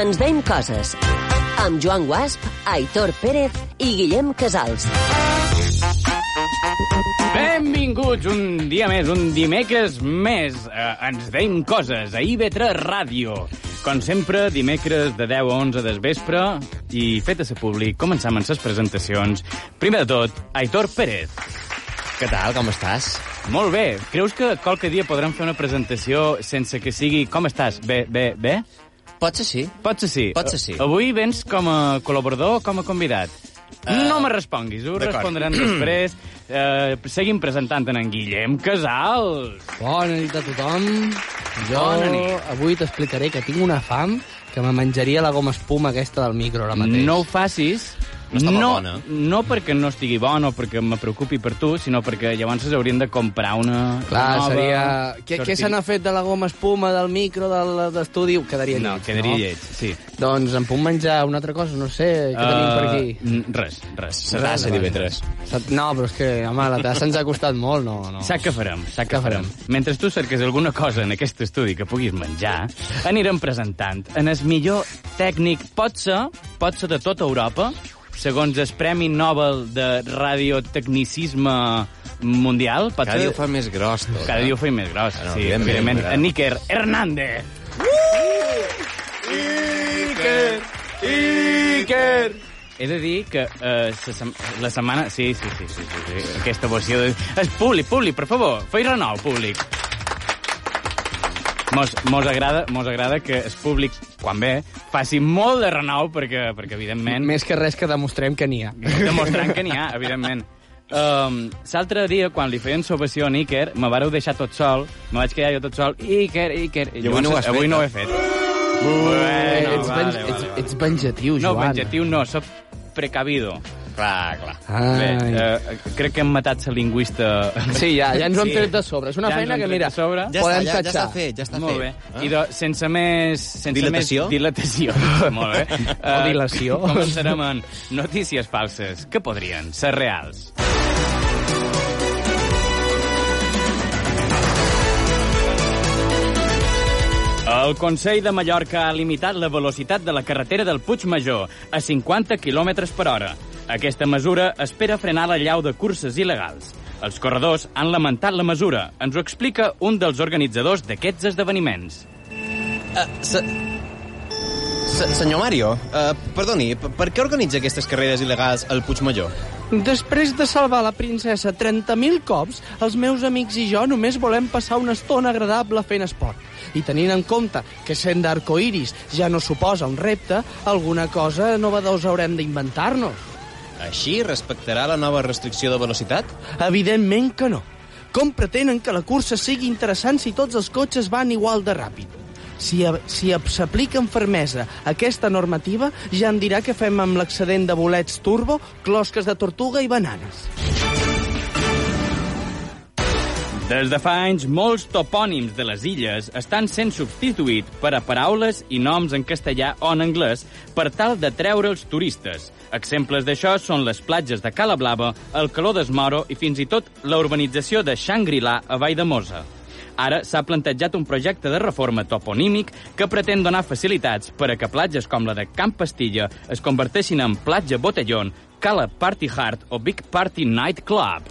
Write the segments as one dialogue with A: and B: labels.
A: Ens veiem coses. Amb Joan Guasp, Aitor Pérez i Guillem Casals.
B: Benvinguts un dia més, un dimecres més. Eh, ens deim coses a IB3 Ràdio. Com sempre, dimecres de 10 a 11 del vespre i fet a ser públic, començam amb les presentacions. Primer de tot, Aitor Pérez.
C: Què tal, com estàs?
B: Molt bé. Creus que qualque dia podrem fer una presentació sense que sigui... Com estàs? Bé, bé, bé?
C: Potser sí.
B: Potser sí.
C: Potser sí.
B: Avui vens com a col·laborador o com a convidat?
C: Eh,
B: Uh, no me responguis, ho
C: d'acord.
B: respondran després. Uh, seguim presentant en Guillem Casals.
D: Bona nit a tothom. Jo
B: Bona nit.
D: avui t'explicaré que tinc una fam que me menjaria la goma espuma aquesta del micro ara mateix.
B: No ho facis.
C: No està molt
B: no,
C: bona.
B: no perquè no estigui bona o perquè me preocupi per tu, sinó perquè llavors haurien de comprar una
D: Clar,
B: una nova...
D: ah, seria... Què, què se n'ha
B: sortir-
D: fet de la goma espuma del micro del- d'estudi? Ho Quedaria
B: No,
D: lleig,
B: quedaria lleig, sí.
D: Doncs em puc menjar una altra cosa, no sé, què tenim per aquí?
B: Uh, n- res, res.
C: Serà a divendres.
D: Sap- No, però és que, home, la tassa ens ha costat molt, no, no.
B: Sap què farem, sap què
D: Què
B: farem.
D: farem?
B: Mentre tu cerques alguna cosa en aquest estudi que puguis menjar, anirem presentant en el millor tècnic, pot ser, pot ser de tota Europa, segons el Premi Nobel de Radiotecnicisme Mundial, pot
C: Cada dia
B: ser...
C: ho fa més gros, tot.
B: Cada dia ho feim més gros,
C: Ah, no,
B: sí,
C: evidentment,
B: evidentment.
C: clar.
B: En Níker Hernández. Iker! Iker! He de dir que eh, se sem- la setmana... Sí, sí, sí, sí, sí, sí. aquesta versió... De... És públic, públic, per favor, feis renou, públic. Mos, mos, agrada, mos agrada que el públic, quan ve, faci molt de renou, perquè, perquè evidentment
D: Més que res que demostrem que n'hi ha.
B: demostrant que n'hi ha, evidentment. Um, L'altre dia, quan li feien sobació a Iker, me vareu deixar tot sol, me vaig quedar jo tot sol, Iker, Iker... I
C: avui no ho has fet,
B: avui no
C: eh?
B: ho he fet. Bueno,
D: ets,
B: vale,
D: ven-
B: vale,
D: ets,
B: vale.
D: ets venjatiu,
B: No,
D: Joan.
B: venjatiu no, soc precavido.
C: Clar, clar.
D: Ai.
B: Bé, eh, crec que hem matat la lingüista...
D: Sí, ja, ja ens ho hem
B: Sí.
D: tret de sobre. És una
B: Ja ens ho
D: feina
B: hem
D: que,
B: tret
D: mira,
B: de sobre.
C: Ja
D: podem
C: està, ja, ja
D: tatxar.
C: està fet, ja està
B: Molt
C: fet.
B: bé. Eh? I doncs, sense més... Sense
C: Dilatació?
B: Més dilatació. Molt bé.
D: O dilació.
B: Eh, Començarem en notícies falses que podrien ser reals. El Consell de Mallorca ha limitat la velocitat de la carretera del Puig Major a 50 km per hora. Aquesta mesura espera frenar l'allau de curses il·legals. Els corredors han lamentat la mesura. Ens ho explica un dels organitzadors d'aquests esdeveniments.
D: Eh,
C: Uh, se... Se, senyor Mario, uh, perdoni, p- per què organitza aquestes carreres il·legals al Puigmajor?
D: Després de salvar la princesa 30.000 cops, els meus amics i jo només volem passar una estona agradable fent esport. I tenint en compte que sent d'arcoiris ja no suposa un repte, alguna cosa novedosa haurem d'inventar-nos.
C: Així respectarà la nova restricció de velocitat?
D: Evidentment que no. Com pretenen que la cursa sigui interessant si tots els cotxes van igual de ràpid? Si a- si a- s'aplica amb fermesa aquesta normativa, ja em dirà què fem amb l'excedent de bolets turbo, closques de tortuga i bananes.
B: Des de fa anys, molts topònims de les illes estan sent substituït per a paraules i noms en castellà o en anglès per tal de treure els turistes. Exemples d'això són les platges de Cala Blava, el Caló d'Esmoro i fins i tot la urbanització de Xangri-La a Vall de Mosa. Ara s'ha plantejat un projecte de reforma toponímic que pretén donar facilitats per a que platges com la de Camp Pastilla es converteixin en platja Botellón, Cala Party Hard o Big Party Night Club.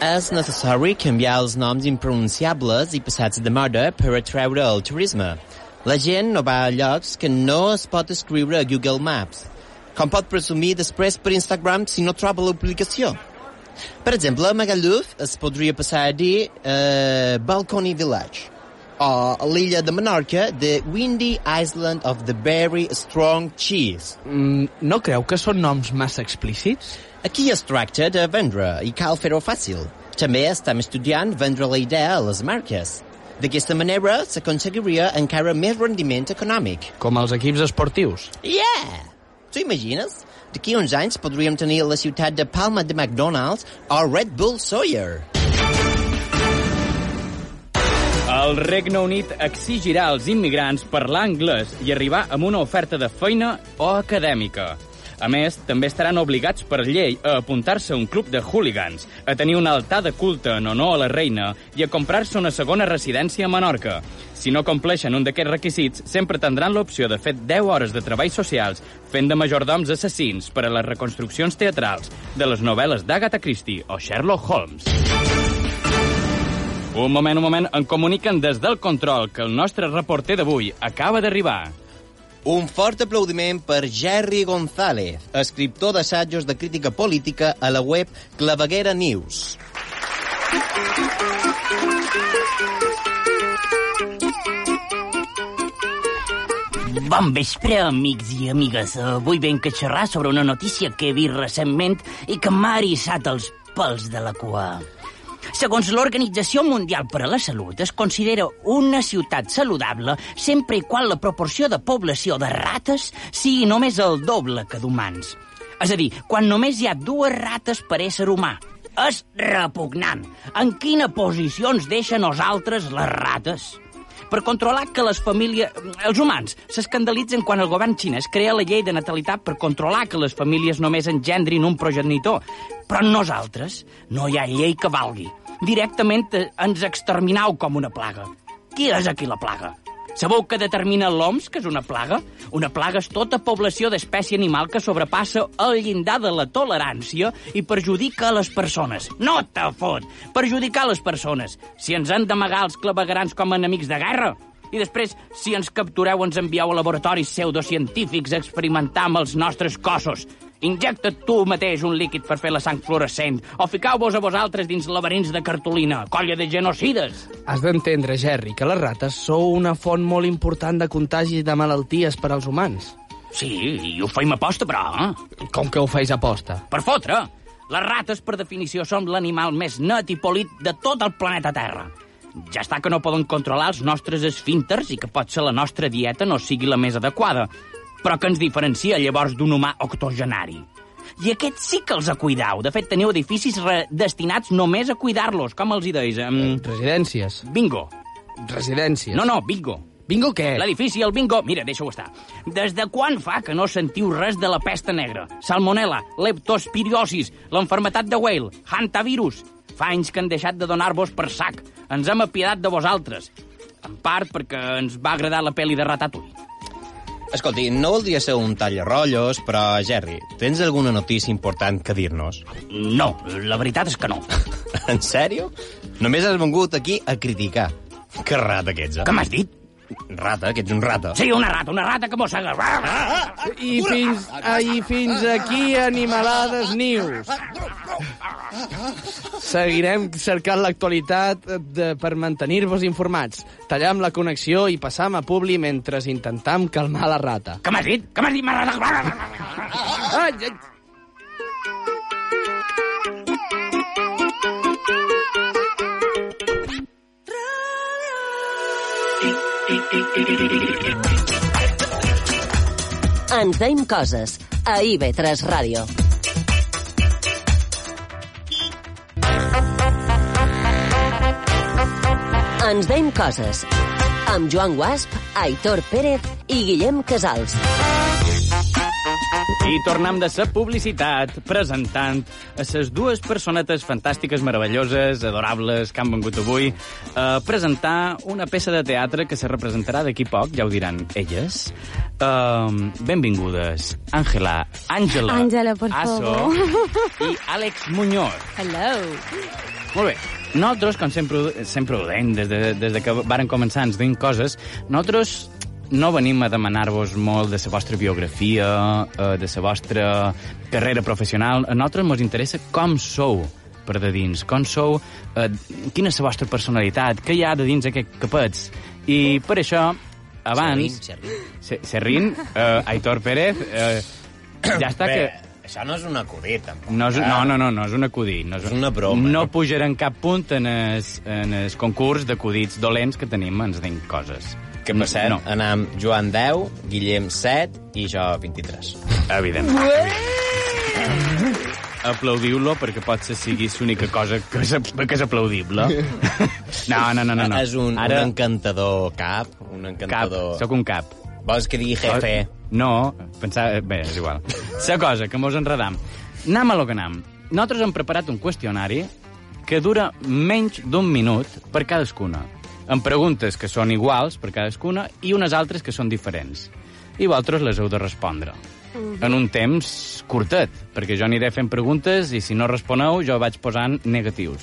C: És necessari canviar els noms impronunciables i passats de moda per atreure el turisme. La gent no va a llocs que no es pot escriure a Google Maps, com pot presumir després per Instagram si no troba l'aplicació. Per exemple, a Magaluf es podria passar a dir eh, Balcony Village o a l'illa de Menorca de Windy Island of the Very Strong Cheese.
D: Mm, no creu que són noms massa explícits?
C: Aquí es tracta de vendre i cal fer-ho fàcil. També estem estudiant vendre la idea a les marques. D'aquesta manera s'aconseguiria encara més rendiment econòmic.
D: Com els equips esportius.
C: Yeah! T'ho imagines? D'aquí uns anys podríem tenir la ciutat de Palma de McDonald's o Red Bull Sawyer.
B: El Regne Unit exigirà als immigrants parlar anglès i arribar amb una oferta de feina o acadèmica. A més, també estaran obligats per llei a apuntar-se a un club de hooligans, a tenir un altar de culte en honor a la reina i a comprar-se una segona residència a Menorca. Si no compleixen un d'aquests requisits, sempre tindran l'opció de fer 10 hores de treball socials fent de majordoms assassins per a les reconstruccions teatrals de les novel·les d'Agatha Christie o Sherlock Holmes. Un moment, un moment, em comuniquen des del control que el nostre reporter d'avui acaba d'arribar.
C: Un fort aplaudiment per Jerry González, escriptor d'assajos de crítica política a la web Claveguera News.
E: Bon vespre, amics i amigues. Avui venc a xerrar sobre una notícia que he vist recentment i que m'ha erissat els pèls de la cua. Segons l'Organització Mundial per a la Salut, es considera una ciutat saludable sempre i quan la proporció de població de rates sigui només el doble que d'humans. És a dir, quan només hi ha dues rates per ésser humà. És repugnant. En quina posició ens deixa a nosaltres les rates? per controlar que les famílies... Els humans s'escandalitzen quan el govern xinès crea la llei de natalitat per controlar que les famílies només engendrin un progenitor. Però nosaltres no hi ha llei que valgui. Directament eh, ens exterminau com una plaga. Qui és aquí la plaga? Sabeu que determina l'OMS que és una plaga? Una plaga és tota població d'espècie animal que sobrepassa el llindar de la tolerància i perjudica a les persones. No te fot! Perjudicar les persones. Si ens han d'amagar els clavegrans com a enemics de guerra, i després, si ens captureu, ens envieu a laboratoris pseudocientífics a experimentar amb els nostres cossos. Injecta't tu mateix un líquid per fer la sang fluorescent o ficau-vos a vosaltres dins laberints de cartolina, colla de genocides.
D: Has d'entendre, Gerri, que les rates sou una font molt important de contagis de malalties per als humans.
E: Sí, i ho feim aposta, però, eh?
D: Com que ho feis aposta?
E: Per fotre! Les rates, per definició, són l'animal més net i polit de tot el planeta Terra. Ja està que no poden controlar els nostres esfínters i que potser la nostra dieta no sigui la més adequada, però que ens diferencia llavors d'un humà octogenari. I aquests sí que els acuidau. De fet, teniu edificis re- destinats només a cuidar-los, com els hi deis. Um,
D: Eh, Residències.
E: bingo.
D: Residències.
E: No, no, bingo.
D: Bingo què?
E: L'edifici, el bingo... Mira, deixa-ho estar. Des de quan fa que no sentiu res de la pesta negra? Salmonella, leptospiriosis, l'enfermetat de Whale, hantavirus... Fa anys que han deixat de donar-vos per sac. Ens hem apiadat de vosaltres. En part perquè ens va agradar la pel·li de Ratatouille.
C: Escolti, no voldria ser un tallarrotllos, però, Jerry, tens alguna notícia important que dir-nos?
E: No, la veritat és que no.
C: En sèrio? Només has vengut aquí a criticar. Que rata que ets, eh?
E: Què m'has dit?
C: Rata, que ets un rata.
E: Sí, una rata, una rata que mossega.
D: I fins, i fins aquí, Animalades News. Seguirem cercant l'actualitat eh, de, per mantenir-vos informats. Tallam la connexió i passam a Publi mentre intentam calmar la rata.
E: Què m'has dit? Què m'has dit? M'has dit?
D: Ai, ai.
A: Ens deim coses a IB3 Ràdio. Ens deim coses amb Joan Guasp, Aitor Pérez i Guillem Casals.
B: I tornem de sa publicitat presentant a ses dues personetes fantàstiques, meravelloses, adorables que han vengut avui a presentar una peça de teatre que se representarà d'aquí poc, ja ho diran elles. Um, benvingudes, Àngela, Àngela,
F: Àngela, por
B: Aso
F: favor.
B: i Àlex Muñoz.
F: Hello.
B: Molt bé. Nosaltres, com sempre, ho- sempre ho deim, des de, des de que varen començar ens duim coses, nosaltres no venim a demanar-vos molt de la vostra biografia, eh, de la vostra carrera professional. A nosaltres ens interessa com sou per de dins, com sou, eh, quina és la vostra personalitat, què hi ha de dins aquests capets. I per això, abans...
C: Serrín,
B: Se- Serrín, eh, Aitor Pérez, eh, ja està que...
C: Això no és un acudit, tampoc.
B: No, és,
C: eh?
B: no, no, no, no és un acudit. No
C: És una broma.
B: No pujarem cap punt en es, en es concurs d'acudits dolents que tenim, ens den coses.
C: Que per cert,
B: No,
C: no. anem Joan 10, Guillem 7 i jo 23.
B: evidentment. Aplaudiu-lo perquè potser sigui l'única cosa que és, que és aplaudible. No, no, no, no. no.
C: És un, Ara... un encantador cap, un
B: cap,
C: encantador...
B: sóc un cap.
C: Vols que digui jefe?
B: No, pensava... Bé, és igual. La cosa, que mos enredam. Anam a lo que anam. Nosaltres hem preparat un qüestionari que dura menys d'un minut per cadascuna. Amb preguntes que són iguals per cadascuna i unes altres que són diferents. I vosaltres les heu de respondre. En un temps curtet, perquè jo aniré fent preguntes i si no responeu jo vaig posant negatius.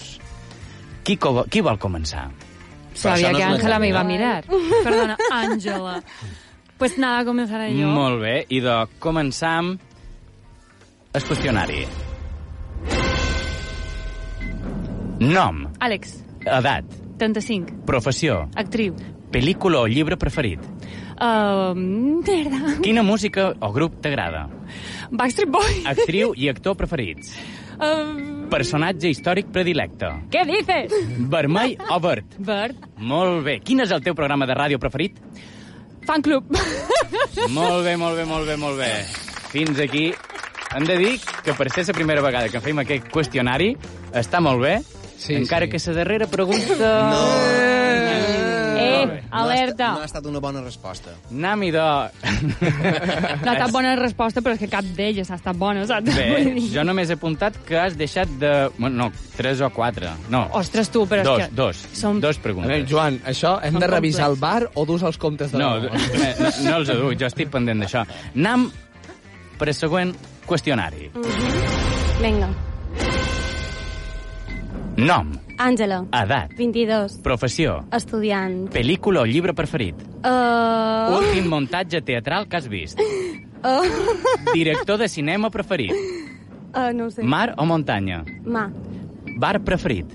B: Qui, co qui vol començar?
F: Sabía
C: eso no
F: que
C: es una
F: Ángela me iba a
G: Ay,
F: mirar.
G: Perdona, Ángela. Pues nada, comenzaré yo.
B: Molt bé, i de començar amb el qüestionari. Nom,
G: Àlex,
B: edat,
G: 35,
B: professió,
G: actriu.
B: pel·lícula o llibre preferit.
G: Uh,
F: Ehm,
G: merda.
B: Quina música o grup t'agrada?
G: Backstreet Boy.
B: Actriu i actor preferits.
F: Ehm,
G: Uh,
B: Personatge històric predilecte.
G: ¿Qué dices?
B: Vermell o verd?
G: Bert.
B: Molt bé. Quin és el teu programa de ràdio preferit?
G: Fan club.
B: Molt bé, molt bé, molt bé, molt bé. Fins aquí. Hem de dir que per ser la primera vegada que fem aquest qüestionari està molt bé,
D: Sí,
B: sí, encara
D: sí.
B: sí. que la darrera pregunta...
C: No.
G: eh, alerta.
C: No ha, estat, no ha estat una bona resposta.
B: Nami de...
F: No ha estat bona resposta, però és que cap d'elles ha estat bona, saps?
B: Bé,
F: Vull dir-
B: jo només he apuntat que has deixat de... Bueno, no, tres o quatre. No,
F: Ostres, tu, però
B: dos,
F: és que...
B: dos.
F: Som...
B: Dos
D: A
B: preguntes.
D: veure, Joan, això hem de
F: Són
D: revisar el
F: complex.
D: bar o dus els comptes de
B: No,
D: nou?
B: eh, no, no els aduc, jo estic pendent d'això. Anam per el següent qüestionari.
H: Vinga.
B: Nom,
H: Àngela,
B: edat,
H: 22,
B: professió,
H: estudiant.
B: pel·lícula o llibre preferit,
H: Uh,
B: últim muntatge teatral que has vist,
H: uh,
B: director de cinema preferit,
H: uh, no ho sé.
B: mar o muntanya,
H: Ma.
B: bar preferit.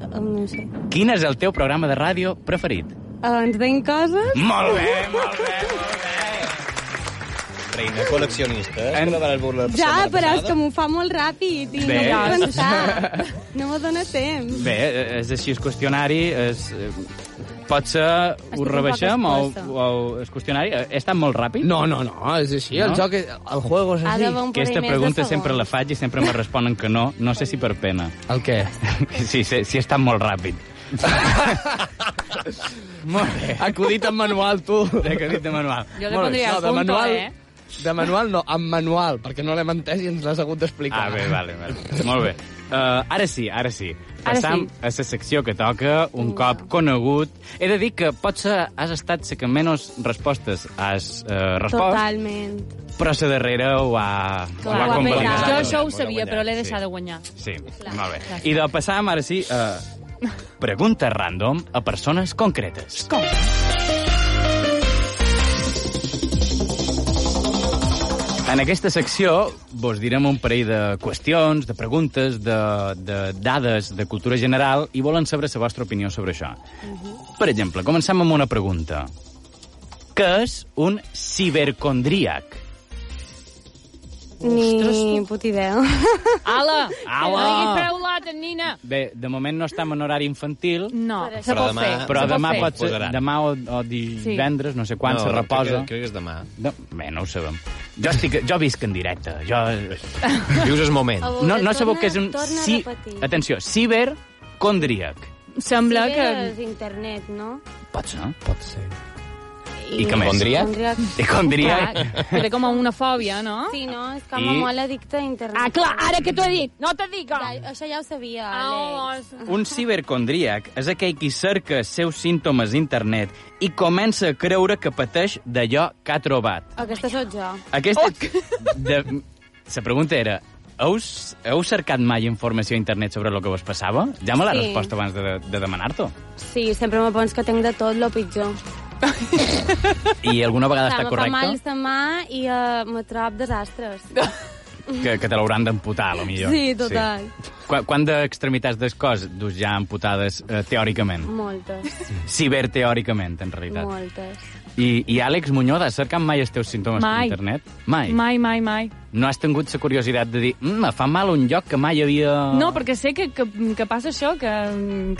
H: Uh, no ho sé.
B: Quin és el teu programa de ràdio preferit?
H: Uh, ens deien coses?
B: Molt bé, molt bé, molt bé. eh?
C: Reina col·leccionista.
B: En-
C: En... La
H: Ja,
C: setmana
H: però és
C: passada.
H: que m'ho fa molt ràpid i
B: Bé.
H: no puc pensar. No me dóna temps.
B: Bé, eh, és així, és qüestionari, és... eh, Pot ser, ho
H: un poc
B: rebaixem o,
H: exposa.
B: o és qüestionari? Eh, He estat molt ràpid?
D: No, no, no, és així. El
B: No?
D: joc, és- el juego és
H: Ha
D: així.
H: d'haver un parell
B: Aquesta
H: més de
B: pregunta
H: segons.
B: sempre la faig i sempre me responen que no, no sé si per pena.
D: El què?
B: Sí, sí, sí he estat molt ràpid. molt bé.
D: Acudit en manual, tu.
B: De que dit de manual.
F: Jo li
B: Molt bé.
F: pondria el punto, eh?
D: De manual no, amb manual, perquè no l'hem entès i ens l'has hagut d'explicar.
B: Ah, bé, vale, vale. Molt bé. Uh, ara sí, ara sí.
F: Ara
B: Passam a la secció que toca, un cop conegut. He de dir que potser has estat la que menys respostes has uh, respost,
H: Totalment.
B: però la darrera ho ha,
F: Clar,
B: ho ha
F: ho ha
B: convalidat.
H: guanyat.
F: Jo això ho
B: Ho ha
F: sabia,
B: guanyat,
F: però l'he
B: sí.
F: deixat de guanyar.
B: Sí, molt bé. I de passar, ara sí, uh, preguntes random a persones concretes. Com? En aquesta secció vos direm un parell de qüestions, de preguntes, de, de dades de cultura general i volen saber la vostra opinió sobre això. Per exemple, comencem amb una pregunta. Què és un cibercondríac?
H: Ni puta idea.
F: Ala!
B: Ala!
F: No diguis paraulades, nina!
B: Bé, de moment no estem en horari infantil,
F: No,
H: Però
F: se
C: demà-
F: pot fer.
B: Però
F: se pot
B: demà
F: fer.
B: pot ser,
C: Posaran.
B: demà o, o divendres, no sé quan, no, se reposa.
C: Crec, crec
B: Que,
C: que és demà.
B: No, bé, no ho sabem. Jo, estic, jo visc en directe. Jo,
C: Vius el moment.
B: no, no sabeu què és un...
H: Torna a
B: ci-
H: repetir.
B: Atenció, cibercondríac.
F: Sembla
H: Sí,
F: que...
H: és internet, no?
B: Pot ser, no?
C: Pot ser.
B: I què més?
C: Hipocondríac?
H: Hipocondríac.
B: Condríac.
F: Clar, que té com una fòbia, no?
H: Sí, no, és que
B: I-
H: I... molt addicte a internet.
F: Ah, clar, ara que t'ho he dit, no te dic! Ah,
H: Ja, això ja ho sabia,
F: Au,
H: Àlex.
B: Un cibercondríac és aquell qui cerca els seus símptomes a internet i comença a creure que pateix d'allò que ha trobat.
H: Aquesta sóc jo.
B: Aquesta... De... La pregunta era, heu, heu cercat mai informació a internet sobre el que vos passava? Ja me l'ha
H: Sí.
B: respost abans de, de demanar-t'ho.
H: Sí, sempre me pens que tinc de tot, lo pitjor.
B: I alguna vegada
H: Clar,
B: està
H: me fa mal
B: correcte
H: la mà i uh, me trob desastres.
B: que, que te l'hauran d'amputar, a lo millor.
H: Sí, total.
B: Quan, quan d'extremitats del cos dus ja amputades eh, teòricament?
H: Moltes,
B: Ciberteòricament, en realitat.
H: moltes.
B: I, I Àlex Muñoz, has cercat mai els teus símptomes per
F: Mai.
B: internet? Mai.
F: Mai, mai, mai.
B: No has tingut la curiositat de dir mm, me fa mal un lloc que mai havia...
F: No, perquè sé que, que, que passa això, que,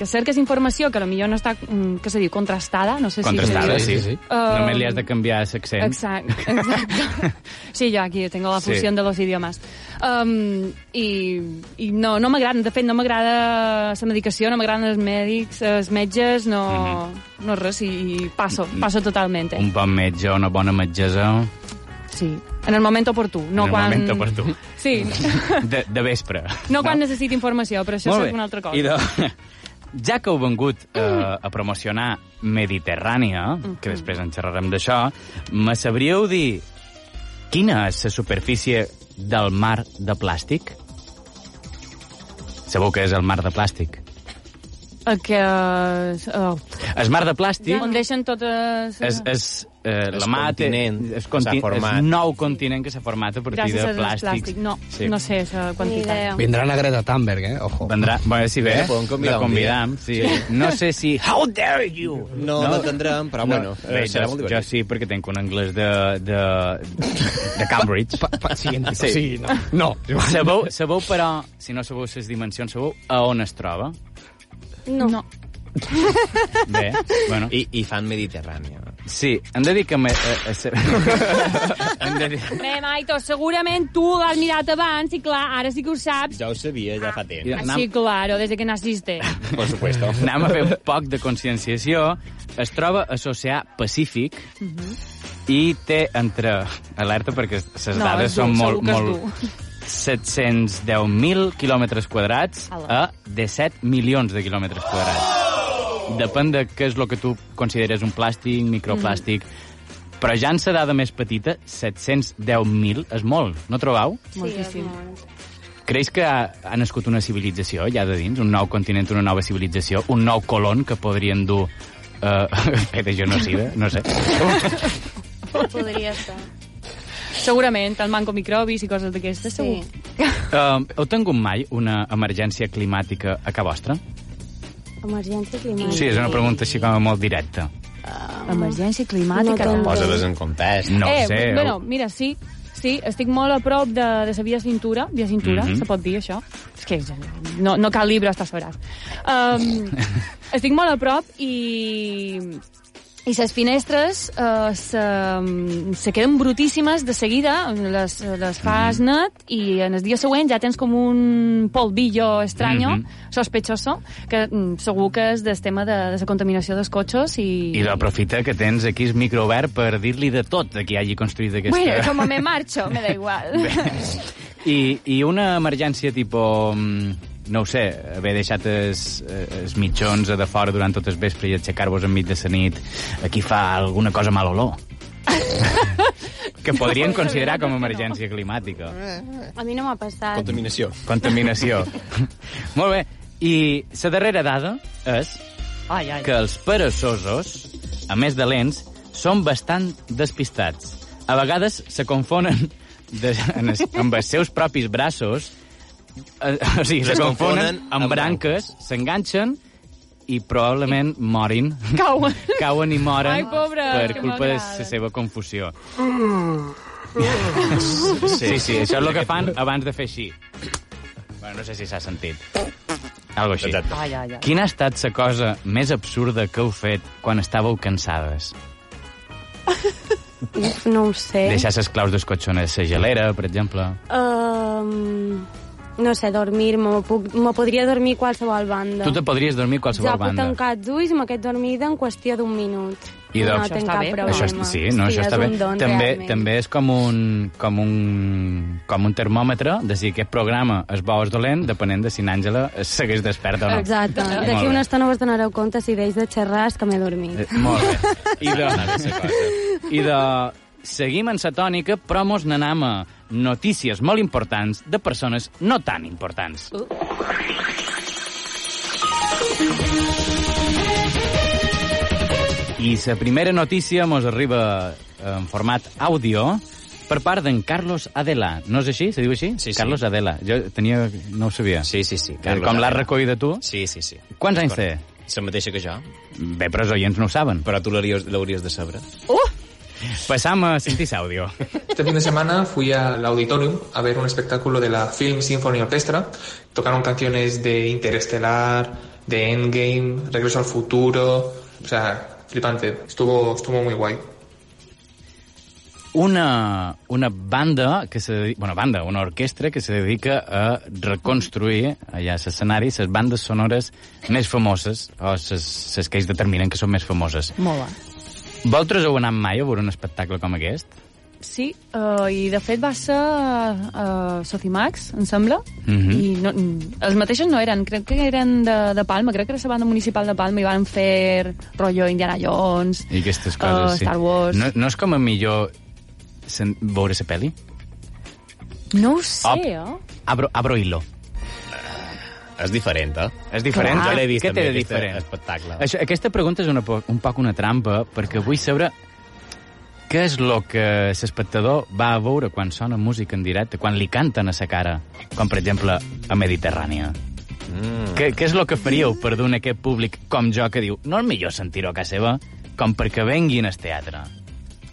F: que cerques informació que a lo millor no està, mm, què se diu, contrastada, no sé si...
B: Contrastada,
D: Sí,
B: sí. sí,
D: sí,
B: sí.
D: sí.
F: Um,
B: Només li has de canviar l'accent.
F: Exacte, exacte. Sí, jo aquí tengo la
B: Sí.
F: fusión de los idiomas. Um, i, I no, no m'agrada, de fet, no m'agrada la medicació, no m'agraden els mèdics, els metges, no,
B: Mhm. Mm.
F: no res, i, i passo, passo totalment. eh.
B: Un bon metge, una bona metgessa...
F: Sí, en el moment oportú. No
B: En el
F: quan...
B: moment oportú.
F: Sí,
B: De, de vespre.
F: no quan necessiti informació, però això
B: Molt
F: és
B: bé.
F: una altra cosa.
B: I doncs? de... Ja que heu vengut eh, a promocionar Mediterrània, que després en xerrarem d'això, me sabríeu dir quina és la superfície del mar de plàstic? Sabeu què és el mar de plàstic?
F: Eh, Que, uh,
B: El mar de plàstic...
F: on deixen totes...
B: és, és, eh,
C: És
B: la mà té-
C: continent
B: és,
C: que s'ha
B: conti
C: format.
B: és nou continent que s'ha format a partir
F: Gràcies
B: de
F: al
B: plàstic.
F: plàstic. No,
B: sí.
F: no sé la
H: Ni
F: quantitat.
H: idea.
D: Vendran a Greta Thunberg, eh? Ojo. Eh?
B: Vendrà, bueno, si ve,
C: Bé, podem convidar
B: la
C: un dia.
B: convidam. Sí. No sé si... How dare you!
C: No, no l'entendrem, però bueno,
B: bé,
C: eh, serà
B: jo,
C: molt
B: jo
C: divertit.
B: sí, perquè tenc un anglès de, de, de Cambridge.
D: Pa, pa, siguiente.
B: Sí.
D: Sí. sí no. no.
B: sabeu, sabeu, però, si no sabeu les dimensions, sabeu a on es troba?
H: No. no.
B: Bé, bueno. I,
C: I, I fan Mediterrània.
B: sí, hem de dir que... Me, eh, eh, se- hem de dir...
F: Bé, Maito, segurament tu l'has mirat abans i clar, ara sí que ho saps.
C: Ja ho sabia, ja fa temps.
F: Ah, sí, claro, des de que naciste.
C: Por supuesto.
B: anem a fer un poc de conscienciació. Es troba a l'oceà Pacífic i té entre... Alerta, perquè les
F: No,
B: dades
F: és dur,
B: són molt...
F: segur que
B: molt
F: és dur.
B: 710.000 quilòmetres quadrats a 17 milions de quilòmetres quadrats. Depèn de què és el que tu consideres un plàstic, microplàstic... Però ja en la dada més petita, 710.000, és molt, no trobeu?
H: Moltíssim.
B: Creus que ha, ha nascut una civilització allà de dins? Un nou continent, una nova civilització? Un nou colon que podrien dur eh, fer de genocida? No sé.
H: Podria ser.
F: Segurament, el manco microbis i coses d'aquestes,
H: Sí.
F: segur.
B: Uh, heu tingut mai una emergència climàtica a casa vostra?
H: Emergència climàtica.
B: Sí, és una pregunta així com a molt directa.
F: Emergència
H: climàtica, No, no. també.
C: Posa-les en context.
B: No
F: eh,
B: ho sé.
F: Bueno, mira, sí, sí, estic molt a prop de, de la via cintura, via cintura,
B: Mhm.
F: se pot dir això? És que no, no cal llibre, estàs faràs. Um, estic molt a prop i... I les finestres eh, se, se queden brutíssimes de seguida, les,
B: Mhm.
F: les fas net i en el dia següent ja tens com un polvillo estranyo, mm
B: Mhm.
F: -hmm. sospechoso, que mm, segur que és del tema de, de la contaminació dels cotxes i...
B: I l'aprofita que tens aquí el microobert per dir-li de tot a qui hagi construït aquesta...
F: Bueno, como me marcho, me da igual.
B: I, I una emergència tipo... mm, No ho sé, haver deixat els, els mitjons a de fora durant tot el vespre i aixecar-vos enmig de la nit, aquí fa alguna cosa mal olor. que podrien
F: la
B: considerar
F: veritat
B: com a
F: és que no.
B: emergència climàtica.
H: A mi no m'ha passat.
C: Contaminació.
B: Contaminació. Molt bé. I la darrera dada és
F: Ai, ai.
B: que els peresosos, a més de lents, són bastant despistats. A vegades se confonen de, en es, amb els seus propis braços, eh, o sigui, se
C: Es
B: confonen
C: confonen
B: amb
C: amb
B: branques, s'enganxen i probablement morin.
F: Cauen.
B: Cauen i moren
F: Ai, pobres,
B: per
F: que
B: culpa de
F: m'agrada.
B: la seva confusió. Sí, sí, això és el que fan abans de fer així. Bueno, no sé si s'ha sentit. Algo així.
C: Exacte.
F: Ai, ai, ai.
B: Quina ha estat la cosa més absurda que heu fet quan estàveu cansades?
H: Uf, no ho sé.
B: Deixar les claus dels cotxons a la gelera, per exemple.
H: Um, no sé, dormir, me, puc, me podria dormir qualsevol banda.
B: Tu te podries dormir a qualsevol
H: ja puc
B: banda.
H: tancar els ulls i m'he quedat dormida en qüestió d'un minut.
B: I de-
H: no
B: Això
H: tinc
F: està
H: cap
F: bé, però.
H: problema.
B: Això, és- sí, no, això
H: és
B: està bé.
H: un don,
B: també,
H: realment.
B: també és com un, com un, com un termòmetre, de si aquest programa és bo o és dolent, depenent de si n'Àngela segueix desperta o no.
H: Exacte.
B: Molt
H: D'aquí
B: bé.
H: una estona vos donareu compte si deix de xerrar és que m'he dormit.
B: Eh, Molt bé. I de... I de... Seguim en sa tònica, però mos n'anam a notícies molt importants de persones no tan importants. I la primera notícia mos arriba en format àudio per part d'en Carlos Adela. No és així? Se diu així?
C: Sí, sí.
B: Carlos Adela. Jo tenia... no ho sabia.
C: Sí, sí, sí.
B: Carlos Com l'has
C: Adela.
B: recollit tu?
C: Sí, sí, sí.
B: Quants anys té?
C: D'acord. La mateixa que jo,
B: Bé, però els oients no ho saben.
C: però tu l'hauries l'hauries de saber.
B: Passam a sentir l'àudio.
I: Este fin de semana fui al auditorium a ver un espectáculo de la Film Symphony Orchestra. Tocaron canciones de Interestelar, de Endgame, Regreso al Futuro. O sea, flipante. Estuvo, estuvo muy guay.
B: una, una banda que se dedica, bueno, banda, una orquestra que se dedica a reconstruir allà a l'escenari les bandes sonores més famoses o les que ells determinen que són més famoses.
F: Molt bé.
B: Vosaltres heu anat mai a veure un espectacle com aquest?
F: Sí, uh, i de fet va ser uh, Socimax, em sembla,
B: Mhm.
C: Mm-hmm.
F: i no, mm, els mateixos no eren, crec que eren de, de Palma, crec que era la banda municipal de Palma i van fer rotllo Indiana Jones,
B: I aquestes
F: eh,
B: coses, sí.
F: Star Wars...
B: No, no és com a millor sen... veure la pel·li?
F: No ho sé,
B: Op.
F: eh?
B: Abro, abro hilo.
C: És diferent, eh?
B: És diferent?
C: Jo l'he vist
B: Què té
C: també,
B: de
C: aquest
B: diferent?
C: espectacle.
B: Això, aquesta pregunta és una, po- un poc una trampa, perquè vull saber què és el que l'espectador va a veure quan sona música en directe, quan li canten a sa cara, com per exemple a Mediterrània. Mm. Què, què és el que faríeu per donar a aquest públic com jo que diu no és millor sentir-ho a casa seva com perquè venguin al teatre?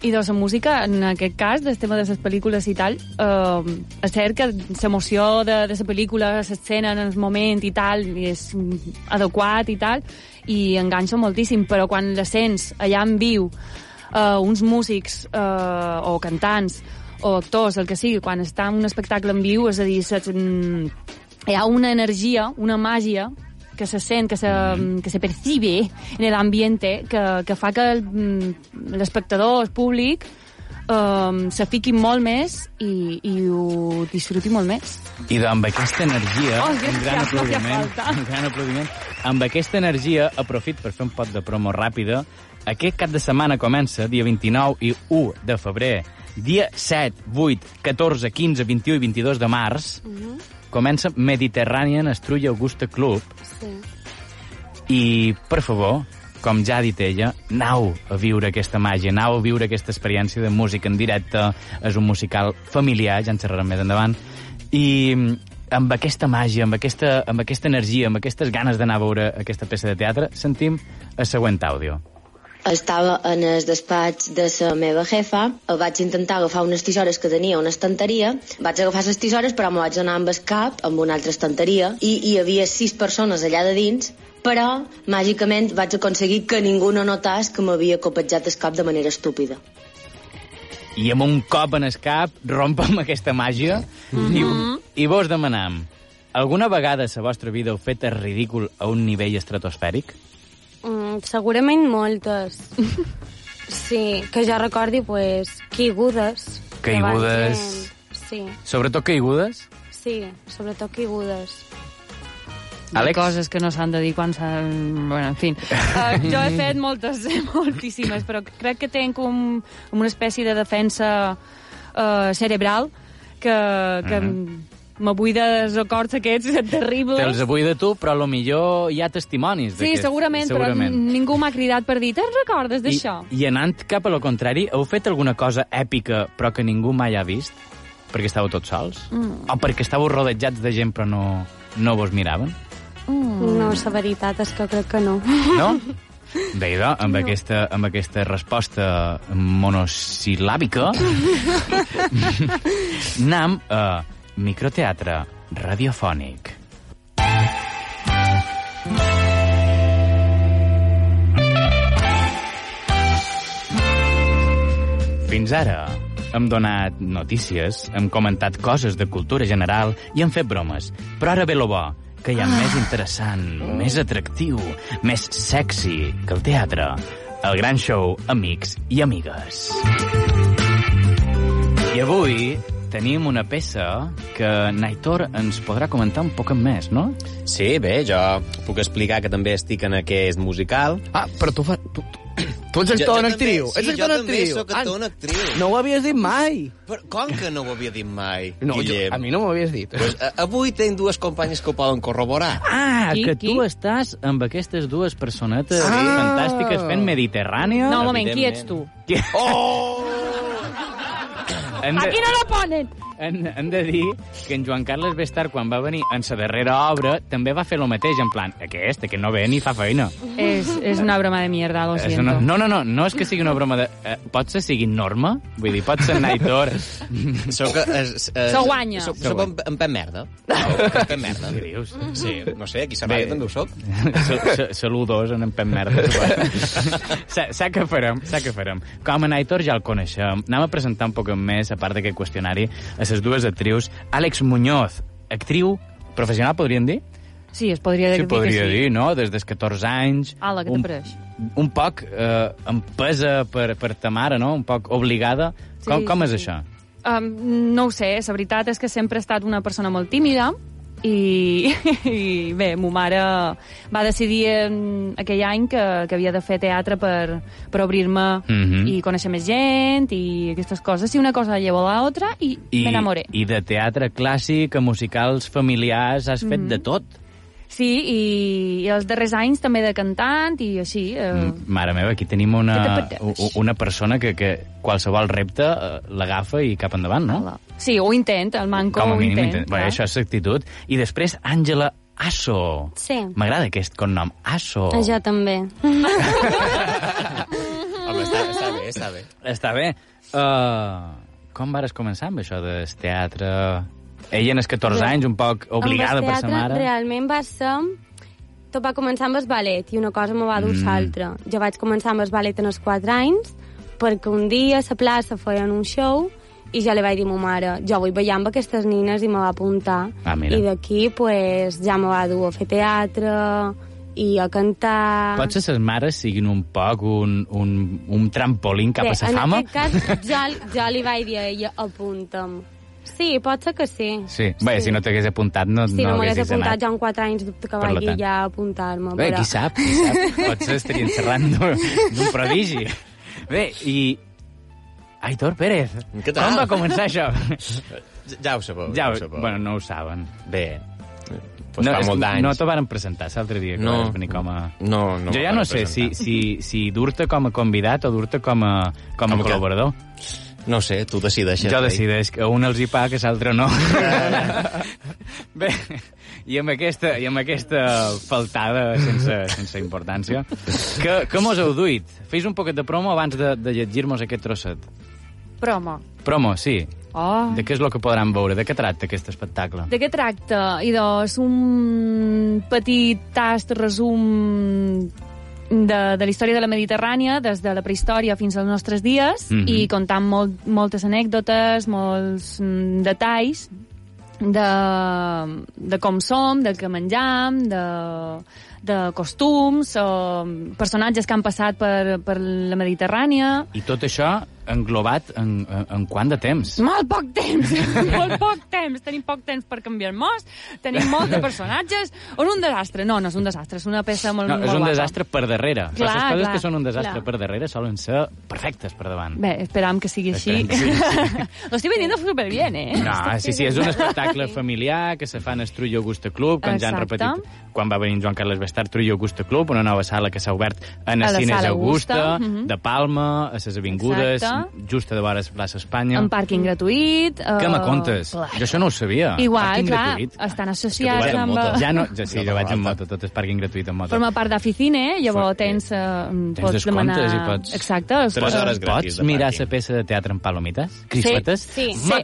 F: I de la música, en aquest cas, del tema de les pel·lícules i tal, eh, és cert que l'emoció de, de la pel·lícula, l'escena en el moment i tal, és mm, adequat i tal, i enganxa moltíssim, però quan la sents allà en viu, eh, uns músics eh, o cantants o actors, el que sigui, quan està en un espectacle en viu, és a dir, saps, mm, hi ha una energia, una màgia que se sent, que se, que se percibe en el ambiente, que, que fa que el- mm, l'espectador, el públic, um, se fiqui molt més i, i ho disfruti molt més.
B: I amb aquesta energia,
F: Oh,
B: un gran
F: gràcies, no feia
B: aplaudiment,
F: falta.
B: un gran aplaudiment, amb aquesta energia aprofit per fer un pot de promo ràpida. Aquest cap de setmana comença, dia 29 i 1 de febrer, dia 7, 8, 14, 15, 21 i 22 de març,
F: Mhm.
B: comença Mediterranean Estrulla Augusta Club
H: Sí.
B: i, per favor, com ja ha dit ella, nau a viure aquesta màgia, nau a viure aquesta experiència de música en directe, és un musical familiar, ja en xerrarem més endavant, i mm, amb aquesta màgia, amb aquesta, amb aquesta energia, amb aquestes ganes d'anar a veure aquesta peça de teatre, sentim el següent àudio.
J: Estava en el despatx de la meva jefa, eh, vaig intentar agafar unes tisores que tenia a una estanteria, vaig agafar les tisores però m'ho vaig anar amb el cap amb una altra estanteria i hi havia sis persones allà de dins però màgicament vaig aconseguir que ningú no notés que m'havia copetjat el cap de manera estúpida.
B: I amb un cop en el cap rompem aquesta màgia i, i vos demanam, alguna vegada a la vostra vida heu fet el ridícul a un nivell estratosfèric?
H: Mm, segurament moltes. sí, que jo recordi, pues, caigudes.
B: Caigudes.
H: Davant gent.
B: Sobretot caigudes?
H: Sí, sí, sobretot caigudes.
B: Àlex?
F: Coses que no s'han de dir quan s'han... Bueno, en fi. Uh, jo he fet moltes, moltíssimes, però crec que tenc un, una espècie de defensa uh, cerebral que, que m'abuida els acords aquests terribles.
B: Mhm. Te'ls avui de tu, però a lo millor hi ha testimonis
F: Doncs- Sí,
B: d'aquest-
F: segurament, segurament, però ningú m'ha cridat per dir te'n recordes d'això?
B: I, I anant cap a lo contrari, heu fet alguna cosa èpica però que ningú mai ha vist? Perquè estàveu tots sols?
H: Mm.
B: O perquè estàveu rodejats de gent però no, no vos miraven?
H: Mm. No, la veritat és que crec que no.
B: No? déu nhi amb, aquesta, amb aquesta resposta monosil·làbica, anam a eh, microteatre radiofònic. Fins ara hem donat notícies, hem comentat coses de cultura general i hem fet bromes. Però ara ve lo bo, que hi ha més interessant, més atractiu, més sexy que el teatre. El gran show Amics i Amigues. I avui tenim una peça que Naitor ens podrà comentar un poc més, no?
C: Sí, bé, jo puc explicar que també estic en aquest musical.
D: Ah, però tu, fa, tu, tu ets
C: Jo-
D: el
C: jo
D: Ton
C: també-
D: Actriu.
C: sí,
D: ets el
C: jo
D: Ton
C: també
D: Actriu.
C: sóc
D: Ah,
C: Ton Actriu.
D: No ho havies dit mai.
C: Però com que no ho havia dit mai,
D: No, jo,
C: Guillem?
D: a mi no m'ho havies dit.
C: Pues, a- avui tinc dues companyes que ho poden corroborar.
B: Ah,
F: Qui,
B: que
F: qui?
B: tu estàs amb aquestes dues personetes
D: Sí.
B: fantàstiques fent Mediterrània.
F: No, un moment, qui ets tu?
D: Oh!
B: Oh! Hem de-
F: Aquí no la ponen!
B: hem, hem de dir que en Joan Carles Bestar, quan va venir en sa darrera obra, també va fer lo mateix, en plan, aquest, que no ve ni fa feina.
F: És, és una broma de mierda, lo
B: És
F: siento.
B: una, no, no, no, no és que sigui una broma de... Eh, pot ser sigui Norma? Vull dir, pot ser Naitor?
C: Sóc, es,
K: Eh,
C: es,
F: Se guanya.
C: Sóc,
B: Se
C: sóc en,
B: guanya.
C: en Pep Merda. Sóc Pep Merda.
B: Què dius? Mm-hmm.
C: Sí, no sé, aquí a
B: Bé.
C: Sarraya també ho sóc.
B: Sa- sa- Saludos en en Pep Merda. suposo. Sa, sa que farem, sa que farem. Com a Naitor ja el coneixem. Anem a presentar un poc més, a part d'aquest qüestionari, a les dues actrius. Àlex Muñoz, actriu professional, podríem dir?
F: Sí, es podria
B: Sí,
F: dir
B: podria
F: que sí.
B: dir, no? Des dels 14 anys.
F: Ala, que
B: un,
F: t'apareix.
B: un poc eh, empesa per, per ta mare, no? Un poc obligada Com,
F: sí,
B: com
F: sí,
B: és
F: sí.
B: això?
F: Um, no ho sé, la veritat és que sempre he estat una persona molt tímida i, i bé, ma mare va decidir en, aquell any que, que havia de fer teatre per, per obrir-me
B: Mhm.
F: i conèixer més gent i aquestes coses, i una cosa llevo a l'altra i, I... m'enamoré.
B: I de teatre clàssic a musicals familiars has fet
F: Mhm.
B: de tot.
F: Sí, i, i els darrers anys també de cantant i així. Eh,
B: Mm-hmm. Mare meva, aquí tenim una,
F: Què te
B: u- u- una persona que, que qualsevol repte eh, l'agafa i cap endavant, no?
F: Sí, ho intent, el manco ho intent.
B: intent. Bé, això és actitud. I després, Àngela Asso.
H: Sí.
B: M'agrada aquest cognom, Asso.
H: Jo també.
C: Home, està, està bé, està bé.
B: Està bé. Uh, com vares començar amb això del teatre? Ella, en els 14
H: Bé,
B: anys, un poc obligada
H: Amb el
B: per sa
H: teatre,
B: mare.
H: Realment va ser... Tot va començar amb el ballet i una cosa me va dur mm. l'altra. Jo vaig començar amb el ballet en els 4 anys perquè un dia a la plaça feien un show i jo li vaig dir a ma mare, jo vull ballar amb aquestes nines i me va apuntar.
B: Ah, mira.
H: I d'aquí pues, ja me va dur a fer teatre i a cantar...
B: Potser ses mares siguin un poc un, un, un trampolín cap a sa
H: en
B: fama?
H: aquest cas, jo, jo li vaig dir a ella, apunta'm. Sí, pot ser que sí.
B: Sí. Bé, si no t'hagués apuntat, no,
H: Si no,
B: no
H: m'hagués
B: haguessis
H: apuntat
B: anat.
H: ja en 4 anys, dubte que
B: Per la
H: vagi
B: tant.
H: ja a apuntar-me.
B: Bé,
H: però...
B: qui sap, qui sap. Potser estarien xerrant d'un d'un prodigi. Bé, i... Aitor Pérez,
C: Què tal?
B: com va començar això?
C: Ja ho sabeu.
B: Ja,
C: ho
B: ho-
C: sabeu.
B: bueno, no ho saben.
C: Bé, pues
B: no,
C: fa
B: és-
C: molt d'anys.
B: No t'ho varen presentar l'altre dia, que
C: No.
B: no. vas venir com a...
C: No, no
B: jo ja
C: me'l
B: no
C: van
B: sé si,
C: presentar.
B: si, si dur-te com a convidat o dur-te com a, com a
C: Com a
B: col·laborador.
C: No ho sé, tu decideixes.
B: jo
C: Rei.
B: decideix que un els hi paga, que l'altre no. Bé, i amb aquesta, i amb aquesta faltada sense, sense importància, que, que mos heu duit? Fes un poquet de promo abans de, de llegir-nos aquest trosset.
F: Promo.
B: Promo, sí.
F: Oh.
B: De què és el que podran veure? De què tracta aquest espectacle?
F: De què tracta? I doncs un petit tast resum de, de la història de la Mediterrània, des de la prehistòria fins als nostres dies, mm
G: Mhm.
F: -hmm. i contant molt, moltes anècdotes, molts mm, detalls de, de com som, de què menjam, de, de costums, o personatges que han passat per, per la Mediterrània...
B: I tot això englobat en, en, en quant de temps?
F: Molt poc temps, molt poc temps. Tenim poc temps per canviar el mos, tenim molt de personatges. O és un desastre? No, no és un desastre, és una peça molt,
B: No,
F: molt
B: és un
F: guapa.
B: desastre per darrere. Però
F: Clar,
B: les coses
F: clar,
B: que són un desastre
F: clar.
B: per darrere solen ser perfectes per davant.
F: Bé, esperam que sigui així. Lo estoy vendiendo súper bien, eh?
B: No, Ah, sí, sí, és un espectacle familiar que se fa en el Trullo Augusta Club, quan ja han
F: Exacte.
B: repetit, quan va venir en Joan Carles Bestard, Trullo Augusta Club, una nova sala que s'ha obert en
F: A
B: els
F: la
B: cines
F: Sala
B: Augusta,
F: Augusta, mhm.
B: de Palma, a les avingudes,
F: Exacte.
B: just a davant de la plaça Espanya.
F: En pàrquing gratuït... eh,
B: Que me contes?
F: clar.
B: Jo això no ho sabia.
F: Igual,
B: Pàrquing
F: clar,
B: gratuït.
F: estan
B: Tu vas
F: associats
B: en
F: amb... eh,
B: moto. Ja no, ja, sí, jo vaig en moto, tot és pàrquing gratuït en moto.
F: Forma part d'Aficine, llavors tens, eh, pots
B: descomptes
F: demanar...
B: i pots-
F: Exacte, es pots-
B: Pots mirar la peça de teatre en palomites? Crispetes?
H: Sí, sí.
B: Ma-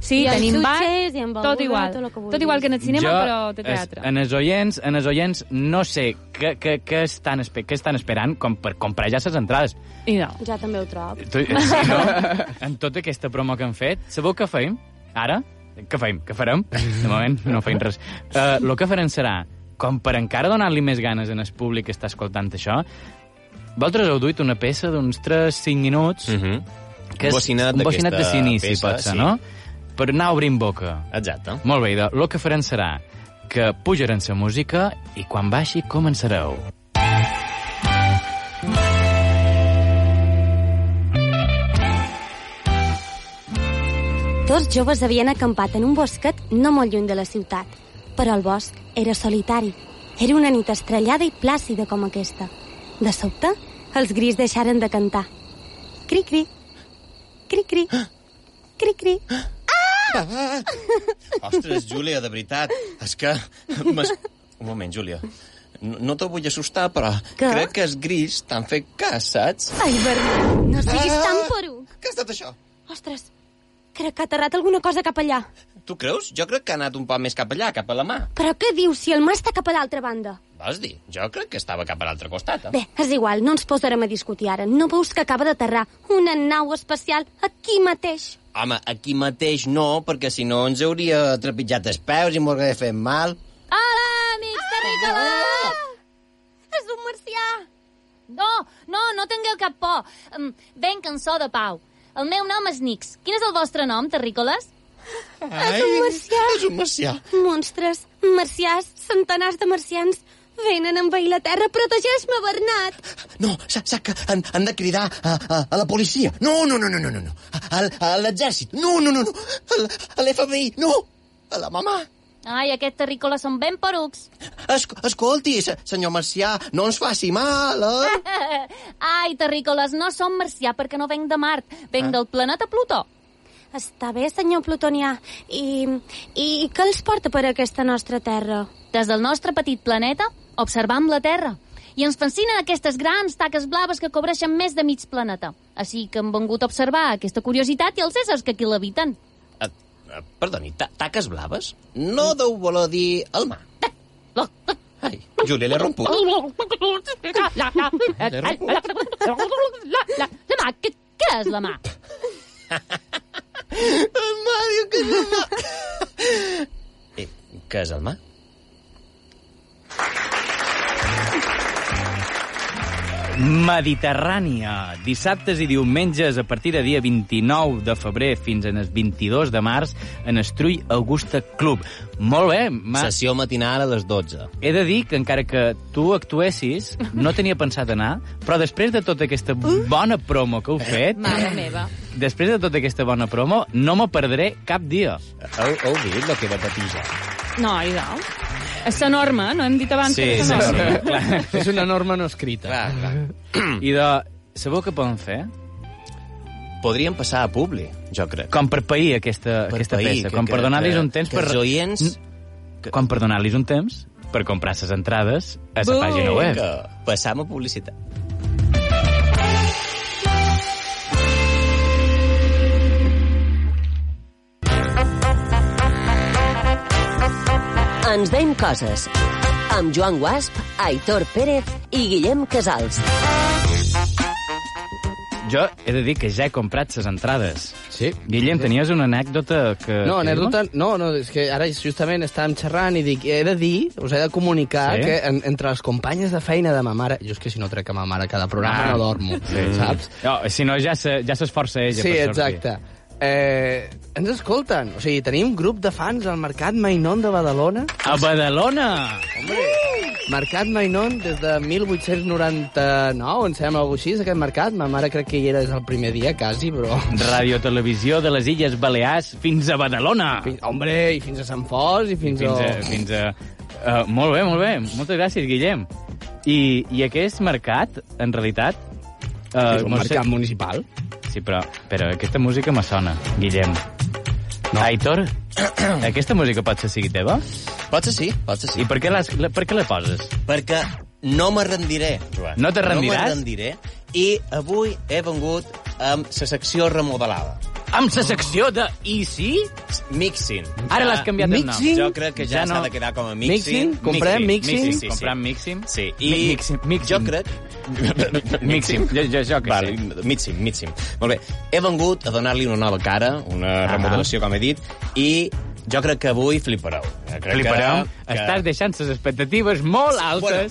F: Sí,
H: I amb
F: tenim bar,
H: sutxes, i amb
F: tot
H: beguda,
F: igual.
H: tot lo que
F: Tot,
H: vulguis.
F: igual que en el cinema,
B: Jo,
F: però de teatre.
B: Es, en els oients, en els oients no sé què, què, què, estan, espe- què estan esperant com per comprar ja les entrades.
F: I no.
H: Jo també ho trob.
B: Tu, eh, si no, en tota aquesta promo que hem fet, sabeu què feim? Ara? Què feim? Què farem? De moment no feim res. El uh, que farem serà, com per encara donar-li més ganes en el públic que està escoltant això, vosaltres heu duit una peça d'uns 3-5 minuts mm -hmm.
C: Mhm. Un bocinat
B: un bocinat de
C: d'aquesta
B: s'inici,
C: peça,
B: pot ser,
C: sí.
B: no? Per anar obrint boca.
C: Exacte.
B: Molt bé, Ida. El que farem serà que pujaran la música i quan baixi començareu.
H: Dos joves havien acampat en un bosquet no molt lluny de la ciutat, però el bosc era solitari. Era una nit estrellada i plàcida com aquesta. De sobte, els gris deixaren de cantar. Cri-cri, cri-cri, cri-cri. Ah!
C: Ostres, Júlia, de veritat, és que... m'es- Un moment, Júlia. No, no te vull assustar, però
H: Què?
C: crec que els gris t'han fet cas, saps?
H: Ai, Bernat, no siguis
C: Ah!
H: tan poruc.
C: Què ha estat això?
H: Ostres, crec que ha aterrat alguna cosa cap allà.
C: Tu creus? Jo crec que ha anat un poc més cap allà, cap a la mà.
H: Però què dius si el mà està cap a l'altra banda?
C: Vas dir? Jo crec que estava cap a l'altre costat. Eh?
H: Bé, és igual, no ens posarem a discutir ara. No veus que acaba d'aterrar una nau espacial aquí mateix?
C: Home, aquí mateix no, perquè si no ens hauria trepitjat els peus i m'ho hauria fet mal.
G: Hola, amics de Ricola!
H: És un marcià!
L: Mm,
G: No, no, no tingueu cap por. Em, Ben cançó de pau.
L: El meu nom és Nix. Quin és el vostre nom, terrícoles?
H: És un marcià.
C: És un marcià.
H: Monstres, marcians, centenars de marcians, venen a envair la Terra. Protegeix-me, Bernat!
K: No, saps, saps que han, han de cridar a, a, a la policia. No, no, no, no, no, no. no. A, a l'exèrcit. No, no, no, no. A l- A l'FBI. No. A la mamà.
L: Ai, aquests terrícoles són ben porucs.
K: Es, escolti, se- senyor Marcià, no ens faci mal,
L: Ah.
K: eh?
L: Ai, terrícoles, no som marcià perquè no venc de Mart. Venc
H: Ah.
L: del planeta Plutó.
H: Està bé, senyor Plutonià. I, I què els porta per aquesta nostra Terra?
L: Des del nostre petit planeta observam la Terra i ens fascinen aquestes grans taques blaves que cobreixen més de mig planeta. Així que hem vengut a observar aquesta curiositat i els éssers que aquí l'habiten.
C: Eh, Perdoni, ta taques blaves? No deu voler dir el mar. Ai, Júlia, l'he romput.
L: La mà, què, què és la mà?
K: Mario, que és la mà.
C: Què és el mar?
B: Mediterrània, dissabtes i diumenges a partir de dia 29 de febrer fins en el 22 de març en Estrull Augusta Club. Molt bé, Ma...
C: Sessió matinal a les 12.
B: He de dir que encara que tu actuessis, no tenia pensat anar, però després de tota aquesta bona promo que heu fet,
F: Mare meva.
B: després de tota aquesta bona promo, no me perdré cap dia.
C: Heu, heu vist el que va patir ja?
F: No, i no. És enorme, no hem dit abans que és enorme.
B: clar.
D: És una norma no escrita.
C: Clar, clar.
B: I de... Sabeu què podem fer?
C: Podríem passar a Publi, jo crec.
B: Com per pair aquesta,
C: Per
B: aquesta
C: pair,
B: peça,
C: que-
B: com per
C: que-
B: donar-los
C: que-
B: un temps
C: que
B: per...
C: els oients-
B: N- Com per donar-los un temps per comprar les entrades a la pàgina web.
C: Vinga, Passam a publicitat.
A: Ens veiem coses. Amb Joan Guasp, Aitor Pérez i Guillem Casals.
B: Jo he de dir que ja he comprat les entrades.
D: Sí.
B: Guillem, tenies una anècdota que...
D: No,
B: que
D: anècdota... No, no, és que ara justament estàvem xerrant i dic, he de dir, us he de comunicar
B: Sí?
D: sí? que en, entre les companyes de feina de ma mare... Jo és que si no trec a ma mare cada programa
B: Ah.
D: no dormo, sí. saps?
B: No, si no, ja se- ja s'esforça ja ella
D: sí,
B: per sortir.
D: exacte. Eh, ens escolten. O sigui, tenim grup de fans al Mercat Mainón de Badalona.
B: A Badalona!
D: Mercat Mainón des de 1899, em sembla, alguna així, aquest mercat. Ma mare crec que hi era des del primer dia, quasi, però...
B: Ràdio Televisió de les Illes Balears fins a Badalona.
D: Fins, hombre, i fins a Sant Fos, i fins,
B: fins a...
D: a...
B: Fins a uh, molt bé, molt bé. Moltes gràcies, Guillem. I, i aquest mercat, en realitat... Uh,
D: És un mercat municipal.
B: Sí, però, però aquesta música me sona, Guillem. No. Aitor, aquesta música pot ser sigui teva?
C: Pot ser sí, pot ser sí.
B: I per què, l'has- la, per què la poses?
C: Perquè no me rendiré, Joan.
B: No te
C: No
B: rendiràs?
C: me rendiré. I avui he vengut amb la secció remodelada.
B: Amb la secció de I sí?
C: Mixing.
B: Ara l'has canviat el nom. Mixing?
C: Jo crec que ja,
B: Ja no.
C: s'ha de quedar com a
B: Mixing?
C: mixing.
B: Comprem mixing?
C: sí, sí.
B: Comprem mixing?
C: Sí.
B: Mi-
C: I
B: mixing,
C: jo crec...
B: Mixing, jo- jo- jo què
C: vale, Mixing, mixing. Molt bé. He vengut a donar-li una nova cara, una
B: Ah.
C: remodelació, com he dit, i jo crec que avui flipareu. Jo crec
B: Flipareu.
C: que-
B: Estàs deixant les expectatives molt altes.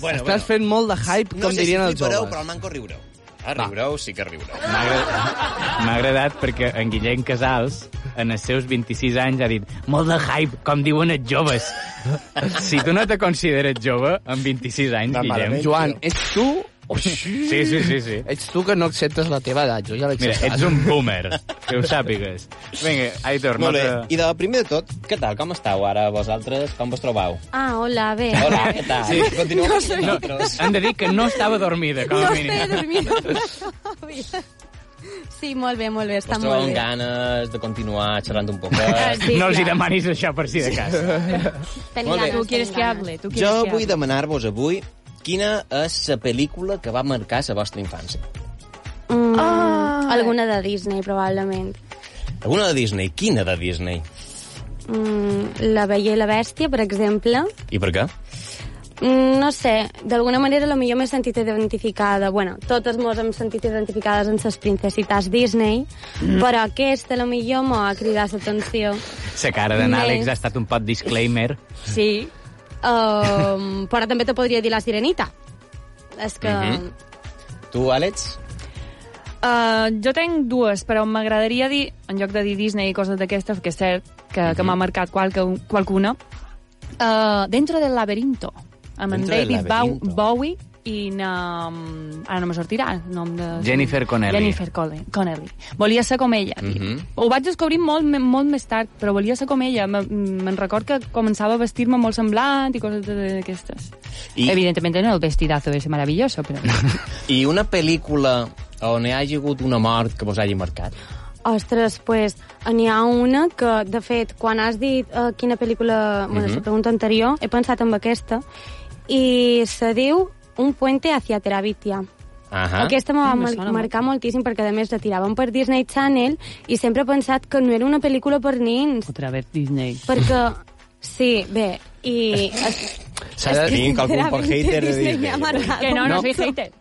C: Bueno, bueno,
D: Estàs fent molt de hype,
C: No
D: com
C: sé si
D: dirien els
C: flipareu,
D: joves.
C: però al manco riureu. Ah, riureu, sí que riureu.
B: M'ha agradat, m'ha agradat perquè en Guillem Casals, en els seus 26 anys, ha dit molt de hype, com diuen els joves. Si tu no te consideres jove, amb 26 anys,
D: Va,
B: Guillem...
D: malament, Joan, ets tu... Oh, sí,
B: Sí, sí, sí, sí.
D: Ets tu que no acceptes la teva edat, jo ja l'he
B: Mira,
D: acceptat.
B: ets un boomer, que ho sàpigues. Vinga, Aitor, no
C: Molt bé.
B: te...
C: I de, primer de tot, què tal? Com estàu ara vosaltres? Com vos trobeu?
H: Ah, hola, bé.
C: Hola, què tal?
B: Sí.
C: Continuem
H: No
C: amb
H: sé.
C: vosaltres.
B: Hem de dir que no estava dormida, com a
H: no
B: mínim.
H: sé, dormir no Sí, molt bé, molt bé, està
C: Vos
H: molt bé.
C: trobem ganes de continuar xerrant un poc. Eh,
H: Sí,
B: No els hi
H: clar.
B: demanis això per si de cas.
H: Tenim
C: Molt bé.
H: ganes,
C: Tu
F: quieres que hable, tu
C: Jo vull demanar-vos avui quina és la pel·lícula que va marcar la vostra infància.
H: Mm, Alguna de Disney, probablement.
C: Alguna de Disney? Quina de Disney?
H: Mm, la Bella i la Bèstia, per exemple.
C: I per què?
H: Mm, no sé, d'alguna manera la millor m'he sentit identificada. Bueno, totes mos hem sentit identificades en ses princesitas Disney, mm. però aquesta la millor m'ha cridat l'atenció.
B: La cara d'en
H: Més.
B: Àlex ha estat un pot disclaimer.
H: Sí. Um, però també te podria dir la Sirenita. És que... Mm
C: Mhm. Tu, Àlex?
F: Uh, jo tenc dues, però m'agradaria dir, en lloc de dir Disney i coses d'aquestes, que és cert que,
B: Mhm.
F: que m'ha marcat qualque, qualcuna, uh, Dentro del laberinto, amb en
B: Dentro del
F: David Bow-
B: laberinto.
F: Bowie i na, ara no me sortirà el nom de...
B: Jennifer Connelly. Mhm.
F: Jennifer Cole- Connelly. Volia ser com ella. Ho vaig descobrir molt, me- molt més tard, però volia ser com ella. Me- Me'n record que començava a vestir-me molt semblant i coses de- d'aquestes.
C: I-
F: Evidentemente no el vestidazo ese maravilloso, però...
C: I una pel·lícula on hi hagi hagut una mort que vos hagi marcat?
H: Ostres, pues, n'hi ha una que, de fet, quan has dit uh, quina pel·lícula... Bueno,
C: Mhm.
H: la pregunta anterior, he pensat en aquesta, i se diu Un puente hacia Terabitia.
C: Ahà.
H: Aquesta me va
F: Mm, me
H: mar-
F: sona
H: marcar moltíssim perquè, a més, la tiraven per Disney Channel i sempre he pensat que no era una pel·lícula per nins,
E: Otra vez Disney.
H: perquè... Sí, bé, i... Es,
M: S'ha de-
H: es que
M: Tinc algun poc
H: sinceramente
M: hater de
H: Disney me
M: Disney.
H: ha marcat
F: Que no, no
H: mucho.
F: soy hater.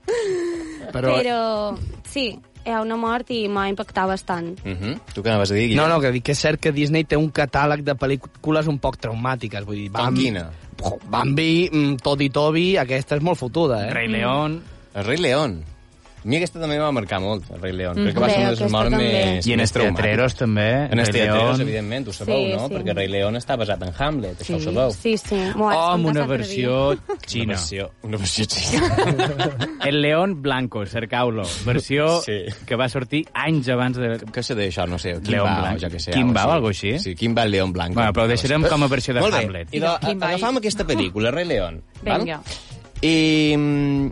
M: Però-
H: Però... sí, hi ha una mort i m'ha impactat bastant.
C: Uh -huh. Tu què vas a dir, Guillem?
D: No, no, que dic que és cert que Disney té un catàleg de pel·lícules un poc traumàtiques. Vull dir, Bambi,
C: quina?
D: Jo, Bambi, mm, Todd i Toby, aquesta és molt fotuda, eh?
B: Rei León.
C: El rei León. A mi aquesta també em va marcar molt, el rei León.
B: Mm,
C: Crec que va
B: bé,
C: ser una de les
B: aquesta
C: morts
B: també.
C: més
B: I en
C: més
B: els teatreros,
C: traumàtiques.
B: també,
C: En els
B: Rei
C: teatreus,
B: León.
C: evidentment, ho sabeu,
H: Sí,
C: no?
H: sí.
C: Perquè el rei León està basat en Hamlet, això ho
H: Sí,
C: sabeu.
H: sí, sí. M'ho
B: O
H: vaig
B: Oh, amb
H: pensar
B: una
H: l'altre
B: versió xina.
C: Una versió, una versió xina.
B: El León Blanco, cercau-lo. Versió
C: Sí.
B: que va sortir anys abans de...
C: Què se deia això? No sé. Quin
B: León
C: va,
B: Blanc.
C: ja que sé.
B: Quin va,
C: sí.
B: o algo així?
C: Sí, quin va el León Blanco.
B: Bueno, però ho deixarem com a versió de
C: Molt
B: Hamlet.
C: Bé. Idò,
B: Quin va
C: agafam
B: ell?
C: aquesta pel·lícula, Rei León. val?
F: Vinga.
C: I, mm,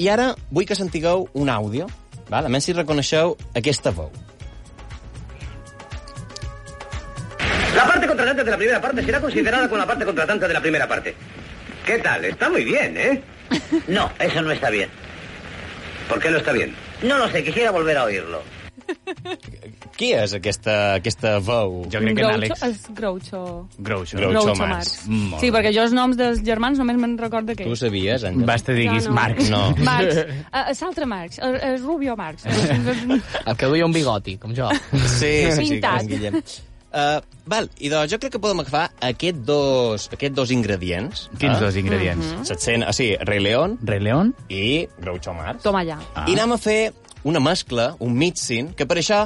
C: I ara vull que sentigueu un àudio, val? a més si reconeixeu aquesta veu.
N: La parte contratante de la primera parte será considerada con la parte contratante de la primera parte. ¿Qué tal? Está muy bien, ¿eh? No, eso no está bien. ¿Por qué no está bien? No lo sé, quisiera volver a oírlo.
C: Qui és aquesta, aquesta veu? Jo
F: Groucho, És Groucho.
C: Groucho
B: Groucho.
F: Groucho
C: Marx.
F: Marx. Sí, perquè jo els noms dels germans només me'n recordo
C: Tu ho
F: aquells.
C: sabies, Àngel?
B: Vas te
F: diguis Jo no. Marx.
C: No.
F: Marx. Uh, Saltre Marx. Uh, Rubio Marx.
D: El que duia un bigoti, com jo.
C: Sí, sí, sí,
F: Pintat.
C: en Guillem. Uh, val, i doncs jo crec que podem agafar aquests dos, aquests dos ingredients.
B: Quins dos ingredients? Mhm.
C: Se't sent, ah, sí, Rei León.
B: Rei León.
C: I Groucho Marx.
F: Toma ja.
C: Ah. I anem a fer una mescla, un mixing, que per això,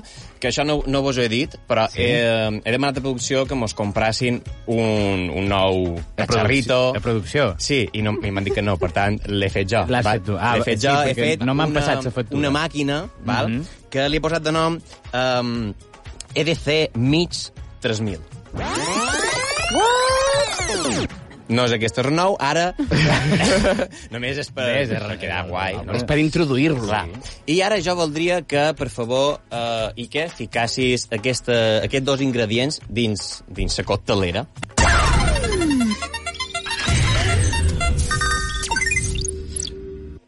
C: que això no, no vos ho he dit, però sí. he, he demanat a producció que mos comprassin un, un nou cacharrito.
B: De producció.
C: Sí, i, no, i m'han dit que no, per tant, l'he fet jo.
B: L'has
C: val?
B: fet tu. Ah,
C: l'he fet
B: sí,
C: jo, he
B: perquè
C: fet
B: no m'han
C: una,
B: passat la factura.
C: una màquina, val?
B: Mhm.
C: que li he posat de nom um, EDC Mig 3000. No és aquest renou, ara... Només és per,
B: Ves, és
C: per quedar guai. No?
D: És per introduir-la.
C: I ara jo voldria que, per favor, eh, Ike, ficassis aquesta, aquests dos ingredients dins, dins la coctelera.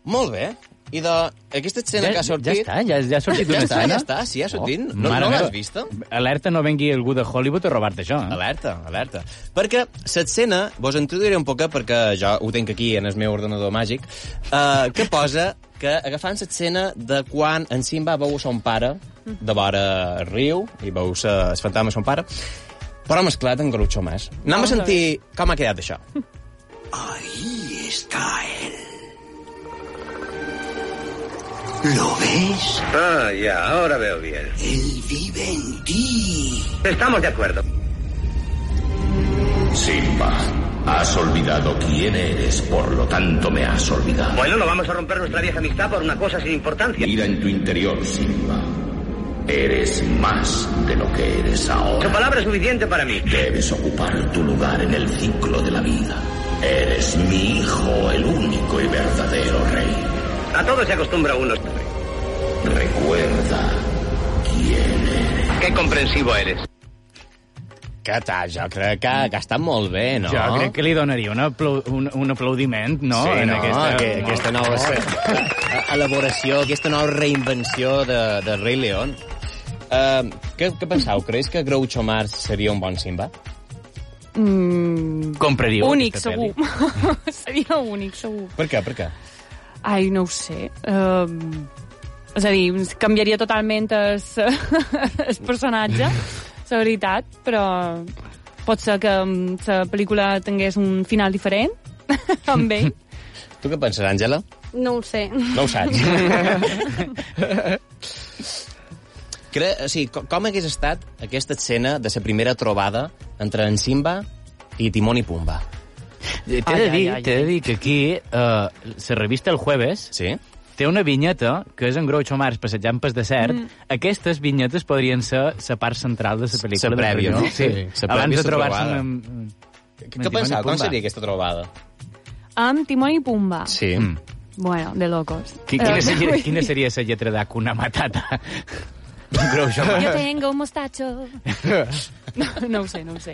C: Molt bé. I de aquesta escena
B: Ja-
C: que ha sortit...
B: ja està, ja- ja ha sortit una
C: ja està,
B: escena?
C: ja està, sí, ha sortit.
B: Oh,
C: no
B: mare
C: no l'has eh?
B: meva.
C: vista?
B: Alerta, no vengui algú de Hollywood a robar-te això. Eh?
C: Alerta, alerta. Perquè l'escena, vos introduiré un poc, perquè jo ho tenc aquí en el meu ordenador màgic, eh, que posa que agafant l'escena de quan en Simba veu son pare de vora el riu i veu se- el fantasma de son pare, però mesclat en Groucho Mas. Anem a
O: Vamos a
C: sentir com ha quedat això.
O: Ahí está él. ¿Lo ves?
N: Ah, ya, ahora veo bien.
O: Él vive en ti.
N: Estamos de acuerdo.
P: Simba, has olvidado quién eres, por lo tanto me has olvidado.
N: Bueno, no vamos a romper nuestra vieja amistad por una cosa sin importancia.
P: Mira en tu interior, Simba. Eres más de lo que eres ahora.
N: Su palabra es suficiente para mí.
P: Debes ocupar tu lugar en el ciclo de la vida. Eres mi hijo, el único y verdadero rey.
N: A todo se acostumbra uno.
P: Recuerda quién eres.
N: Qué comprensivo eres.
C: Que tal, jo crec que, que ha estat molt bé, no?
B: Jo crec que li donaria un, aplau un, un aplaudiment, no?
C: sí,
B: en
C: no,
B: aquesta,
C: que, aquesta nova eh, elaboració, aquesta nova reinvenció de, de Rei León. Uh, què, què penseu? Creus que Groucho Marx seria un bon Simba?
F: Mm,
B: Compraríeu
F: únic,
B: aquesta
F: segur. Seria únic, segur.
C: Per què, per què?
F: Ai, no ho sé. Um, és a dir, ens canviaria totalment es, es personatge, la veritat, però pot ser que mm, la pel·lícula tingués un final diferent, amb ell.
C: Tu què penses, Àngela?
H: No ho sé.
C: No ho saps. Cre o sigui, co- com hagués estat aquesta escena de la primera trobada entre en Simba i Timon i Pumba?
B: T'he de, dir, t'he de dir que aquí, eh, la revista El Jueves
C: sí?
B: té una vinyeta que és en Groucho Marx passejant pel desert.
Q: Mm.
B: Mm. Aquestes vinyetes podrien ser la part central de la pel·lícula.
C: La prèvia, no?
B: Sí,
C: La prèvia
B: abans
C: és
B: de
C: la
B: trobar-se
C: trobada.
B: amb...
C: Què pensava? Com seria aquesta trobada?
F: Amb Timon i Pumba.
C: Sí.
B: Mm.
F: Bueno, de locos.
B: Qui- Quina
F: Eh,
B: seria,
F: vull
B: quina
F: dir-
B: seria la lletra d'Akuna Matata? Groucho
F: Yo
B: Marx.
F: tengo un mostacho. No, no ho sé, no ho sé.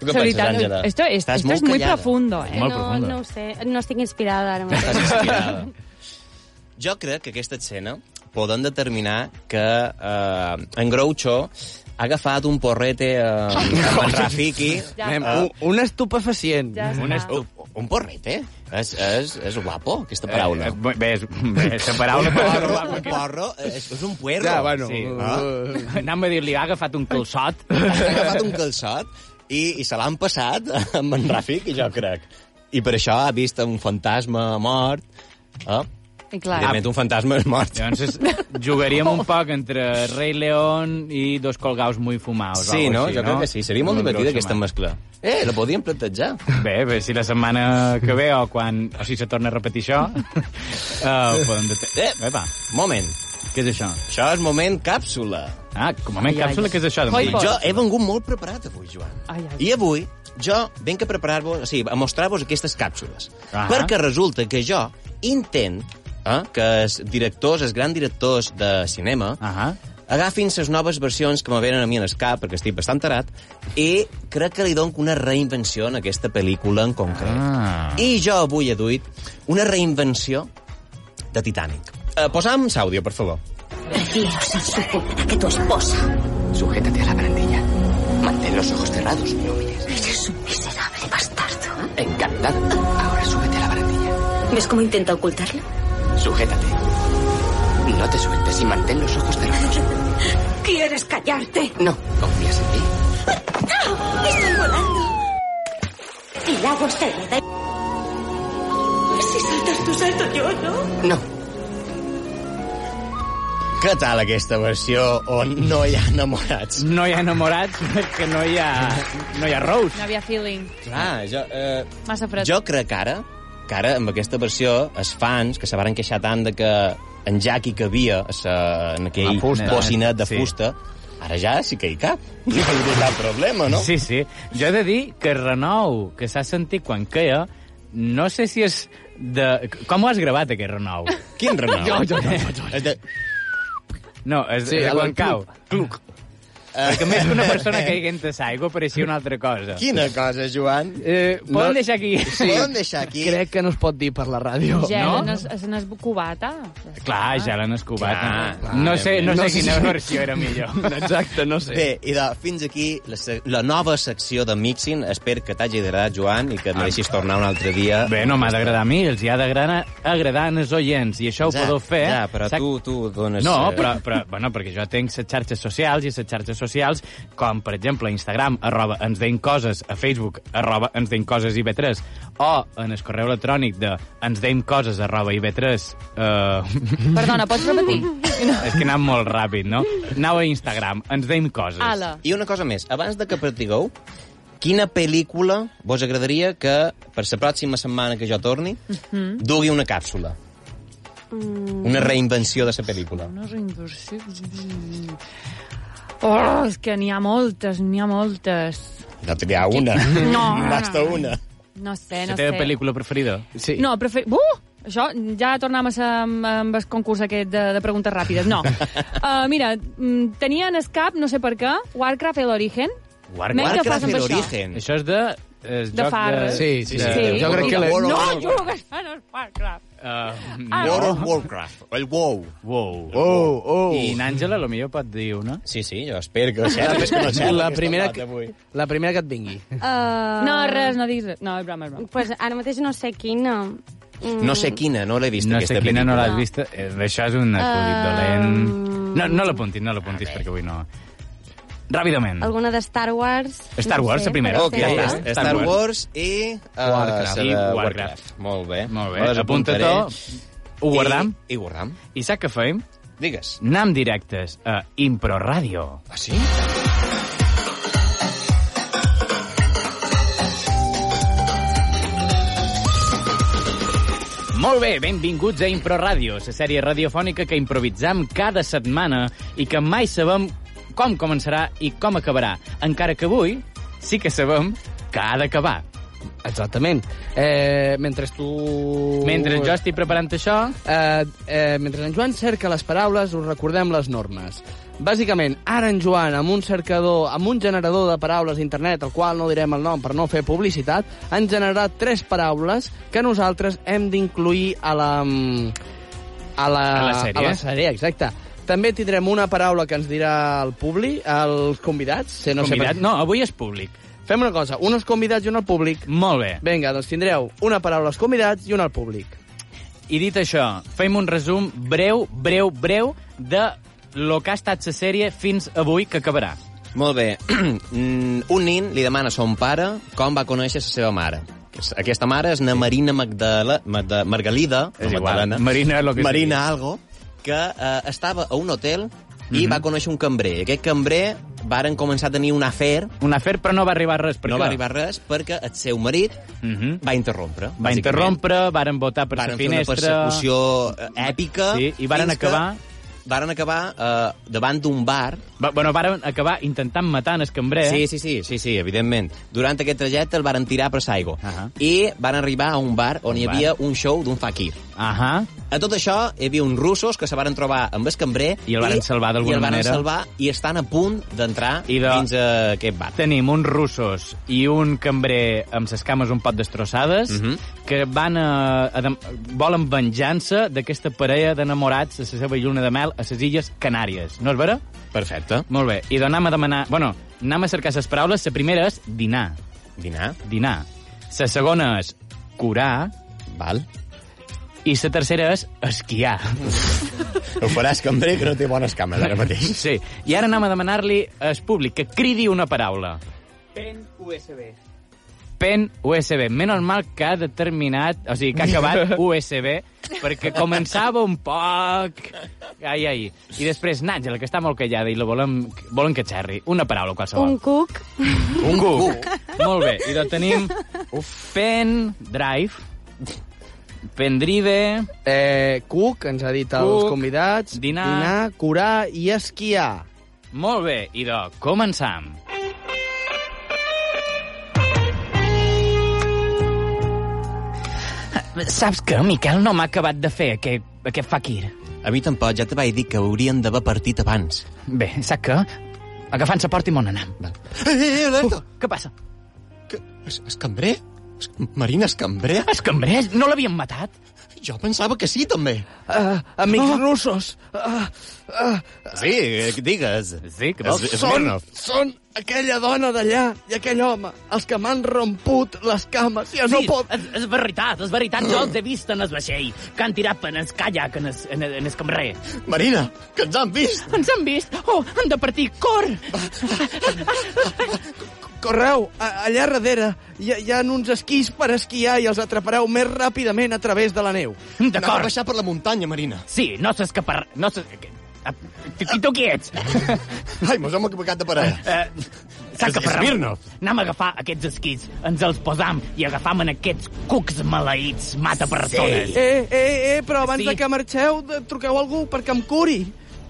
C: Tu què penses,
F: Solitario.
C: Àngela?
F: Esto, es-
C: Estàs
F: esto
C: molt
F: es muy
C: callada.
F: profundo, ¿eh?
C: Molt profundo.
H: no ho sé, no estic inspirada ara mateix.
C: Estàs inspirada. Jo crec que aquesta escena poden determinar que eh, en Groucho ha agafat un porrete eh, amb en Rafiki.
D: Ja Nen, està. un-
C: un estupefacient.
D: Ja està.
C: un, estu un porrete. És, és, és guapo, aquesta paraula.
B: Eh, bé, és, bé, és la paraula...
C: porro, un porro Eh, és, és un puerro. Ah.
B: Ja, bueno, eh. Anàvem a dir-li, ha agafat un calçot.
C: ha agafat un calçot i, i se l'han passat amb en Ràfic, jo crec. I per això ha vist un fantasma mort. Eh?
F: I clar.
C: Evidentment, un fantasma és mort.
B: Llavors, jugaríem un poc entre Rei León i dos colgaus muy fumados.
C: Sí, no?
B: Així,
C: Jo crec que sí. Seria molt
B: Un
C: divertida
B: gros
C: aquesta
B: humà.
C: mescla. Eh, la podíem plantejar.
B: Bé, bé, si la setmana que ve o quan... O si se torna a repetir això... Uh, podem deter... Eh, Epa.
C: moment.
B: Què és això?
C: Això és moment càpsula.
B: Ah, com a moment
C: Ai, ai.
B: càpsula, què és això? de
C: Coi,
B: moment?
C: jo he vengut molt preparat avui, Joan.
F: Ai, ai.
C: I avui jo venc a preparar-vos, o sigui, a mostrar-vos aquestes càpsules.
B: Ah.
C: Perquè resulta que jo intent eh, que els directors, els grans directors de cinema,
B: ah.
C: agafin les noves versions que me venen a mi en el cap, perquè estic bastant tarat, i crec que li dono una reinvenció en aquesta pel·lícula en concret.
B: Ah.
C: I jo avui he duit una reinvenció de Titanic. Eh, posa'm l'àudio, per favor.
P: Preciosa, supongo que tu esposa. Sujétate a la barandilla. Mantén los ojos cerrados, no mires. Eres un miserable bastardo. Encantado. Ahora súbete a la barandilla.
R: ¿Ves cómo intenta ocultarlo?
P: Sujétate. No te sueltes y mantén los ojos cerrados.
R: ¿Quieres callarte?
P: No, confías en mí.
R: ¡Ah! ¡Estoy volando! El agua está helada. Si saltas tú, salto yo, ¿no?
P: No.
C: Què tal aquesta versió on no hi ha enamorats?
B: No hi ha enamorats perquè no hi ha, no hi ha
F: No
B: Rose.
F: havia feeling.
C: Clar, jo, eh,
F: Massa fred.
C: jo crec que ara, que ara amb aquesta versió, els fans que se varen queixar tant de que en Jackie que havia a sa, en aquell
B: La fusta.
C: bocinet de
B: Sí.
C: fusta, ara ja sí que hi cap. No hi hauria cap problema, no?
B: Sí, sí. Jo he de dir que el renou que s'ha sentit quan queia, no sé si és de... Com ho has gravat, aquest renou?
C: Quin renou?
B: Jo, jo, jo.
C: jo, jo. De...
B: No, és,
C: Sí,
B: sí, és de
C: el
B: quan cau.
C: cluc,
B: Cluc. Perquè més que una persona caigui en l'aigua pareixia una altra cosa.
C: Eh. Quina cosa, Joan?
B: Eh, poden deixar aquí.
D: Poden
C: deixar aquí.
D: Crec que no es pot dir per la ràdio.
F: Gela, no? és, no és cubata.
B: Clar, Ah, ja l'han escobat.
C: Ah, Clar,
B: no sé, no sé
C: evidentment.
B: quina versió era millor.
C: Bé, i de, fins aquí la, se- la nova secció de Mixing. Espero que t'hagi agradat, Joan, i que et mereixis tornar un altre dia.
B: Bé, no m'ha d'agradar a mi, els hi ha d'agradar agradar als oients, i això ho
C: Ja,
B: podeu fer.
C: ja, però
B: Sac-
C: tu- tu dones,
B: No,
C: eh,
B: però, però bueno, perquè jo tenc les xarxes socials, i les xarxes socials, com per exemple Instagram, arroba ens deim coses, a Facebook, arroba ens deim coses IB3, o en el correu electrònic de ens deim coses, arroba IB3... Eh...
F: Perdona, pots repetir?
B: És que anam molt ràpid, no? Anau a Instagram, ens deim Doncs coses.
F: Ala.
C: I una cosa més, abans de que partigueu, quina pel·lícula vos agradaria que, per la pròxima setmana que jo torni,
F: Mm.
C: dugui una càpsula? Una reinvenció de la pel·lícula.
F: Una reinversió... Oh, és que n'hi ha moltes, n'hi ha moltes.
C: No tenia una.
F: No.
C: Basta una.
F: No sé,
B: La
F: no
B: teva
F: sé.
B: pel·lícula preferida? Sí.
F: No, prefer... Uh! Això, ja tornàvem a ser amb, amb el concurs aquest de, de preguntes ràpides. No. uh, mira, mm, tenia en el cap, no sé per què, Warcraft el origen. Menys que facin per això.
B: Això és de... És
F: De far.
D: Jo crec que la-
F: No jugues a no Warcraft. Ah, no.
C: World of Warcraft. El WoW.
B: Um, WoW.
C: WoW,
B: I n'Àngela, lo millor pot dir una.
C: Sí, sí, jo espero que...
D: La,
C: és que no sé,
D: la,
C: que
D: primera
C: està
D: que,
C: plat avui.
D: la primera que et vingui.
H: Uh...
F: No, res, no diguis res. No, és broma, és broma.
H: Pues ara mateix no sé quina. Mm.
C: No sé quina, no l'he vista,
B: No sé
C: aquesta
B: quina no
C: pel·lícula.
B: l'has vista. Eh, Això és un acudit dolent. No, no l'apuntis, no l'apuntis, perquè avui no...
F: Mm.
B: Ràpidament.
H: Alguna de Star Wars.
B: Star Wars, la primera.
H: però
B: Ok,
H: serà.
B: ja està.
C: Star Wars i... eh,
B: Warcraft.
C: la de
B: I Warcraft.
C: Molt bé.
B: Molt bé,
C: Me les
B: apunta
C: apuntaré.
B: tot. Ho guardam.
C: I, I guardam.
B: I sap què fem? Digues. Anam directes a Impro Ràdio. Ah, sí? Molt bé, benvinguts a Impro Ràdio, la sèrie radiofònica que improvisam cada setmana i que mai sabem com començarà i com acabarà, encara que avui sí que sabem que ha d'acabar.
D: Exactament. Eh, mentre tu...
B: Mentre jo estic preparant això...
D: Eh, eh, mentre en Joan cerca les paraules, us recordem les normes. Bàsicament, ara en Joan, amb un cercador, amb un generador de paraules d'internet, al qual no direm el nom per no fer publicitat, han generat tres paraules que nosaltres hem d'incluir a la... mm, A la,
B: A la sèrie.
D: A la sèrie, exacte. També tindrem una paraula que ens dirà el públic, els convidats. Se
B: No,
D: no sé
B: Convidat,
D: per-
B: no, avui és públic.
D: Fem una cosa, un als convidats i un al públic.
B: Molt bé.
D: Vinga, doncs tindreu una paraula als convidats i una al públic.
B: I dit això, fem un resum breu, breu, breu de lo que ha estat la sèrie fins avui que acabarà.
C: Molt bé. Mm, un nin li demana a son pare com va conèixer la seva mare. Aquesta mare és una Marina Magdala, Magda, Margalida,
B: És
C: no
B: igual.
C: Magdalena.
B: Marina, lo que
C: Marina
B: sigui.
C: algo, que eh, estava a un hotel i
B: Mhm.
C: va conèixer un cambrer. I aquest cambrer varen començar a tenir un afer.
B: Un afer, però no va arribar res. Per
C: no
B: què?
C: va arribar res perquè el seu marit va interrompre.
B: Va
C: bàsicament.
B: interrompre, varen votar per la
C: Varen fer una
B: finestra...
C: persecució eh, èpica.
B: Sí, i varen
C: fins que
B: acabar-
C: Varen acabar eh, davant d'un bar.
B: Va, bueno, varen acabar intentant matar en el cambrer.
C: Sí, sí, sí, sí, sí, evidentment. Durant aquest trajecte el varen tirar per l'aigua. Uh -huh. I van arribar a un bar on
B: Un
C: hi
B: bar.
C: havia un show d'un fakir.
B: Uh -huh.
C: A tot això hi havia uns russos que se varen trobar amb el cambrer...
B: I el varen salvar
C: I
B: d'alguna
C: el varen
B: manera.
C: salvar i estan a punt d'entrar
B: I de...
C: dins a aquest bar.
B: Tenim uns russos i un cambrer amb ses cames un pot destrossades
C: Mhm.
B: que van a, a dem- volen venjança d'aquesta parella d'enamorats a la seva lluna de mel a les Illes Canàries. No és vera?
C: Perfecte.
B: Molt bé. I d'anar a demanar... Bueno, anem a cercar ses paraules. La primera és dinar.
C: Dinar.
B: Dinar. La segona és curar.
C: Val.
B: I la tercera és esquiar.
C: Ho faràs cambrer que no té bones cames ara mateix.
B: Sí. I ara anem a demanar-li al públic que cridi una paraula.
D: Pen USB.
B: pen USB. Menos mal que ha determinat... O sigui, que ha acabat USB, perquè començava un poc... Ai, ai. I després, Nàngela, que està molt callada i la volem, volen que xerri. Una paraula
H: Un
B: qualsevol.
H: cuc.
B: Un cuc. Molt bé. I doncs tenim Uf. pen drive, pendrive...
D: Eh, cuc, ens ha dit els
B: Cuc,
D: convidats.
B: dinar.
D: Dinar, curar i esquiar.
B: Molt bé. I doncs, començam. Saps què, Miquel? No m'ha acabat de fer aquest, aquest fakir.
C: A mi tampoc, ja te vaig dir que haurien d'haver partit abans.
B: Bé, saps què? Agafant la porta i m'on anam.
C: Eh, eh, eh, Alberto!
B: què passa?
C: Es, es cambrer? Es, Marina, es cambrer?
B: Es cambrer? No l'havien matat? Eh,
C: Jo pensava que sí, també.
D: Uh, amics oh. russos, uh, uh,
C: Sí, eh, digues.
B: Sí, que
C: vols?
D: són, són aquella dona d'allà i aquell home, els que m'han romput les cames. Ja no
E: Sí,
D: pot...
E: és, és veritat, és veritat. Jo els he vist en el vaixell, que han tirat per el kayak en el, en el, en el cambrer.
C: Marina, que ens han vist!
E: Ens han vist? Oh, han de partir. Cor!
D: Correu, a, allà darrere hi, ha- hi ha uns esquís per esquiar i els atrapareu més ràpidament a través de la neu.
E: D'acord.
C: baixar per la muntanya, Marina.
E: Sí, no s'escapar... No s'es...
C: Ah.
E: Qui tu qui ets?
C: Ai, mos hem equivocat de parella.
E: Eh, Saca per
C: Smirnoff.
E: Anem a agafar aquests esquís, ens els posam i agafam en aquests cucs maleïts, mata persones.
D: Eh, eh, eh, però abans
E: Sí.
D: sí. de que marxeu, de- truqueu a algú perquè em curi.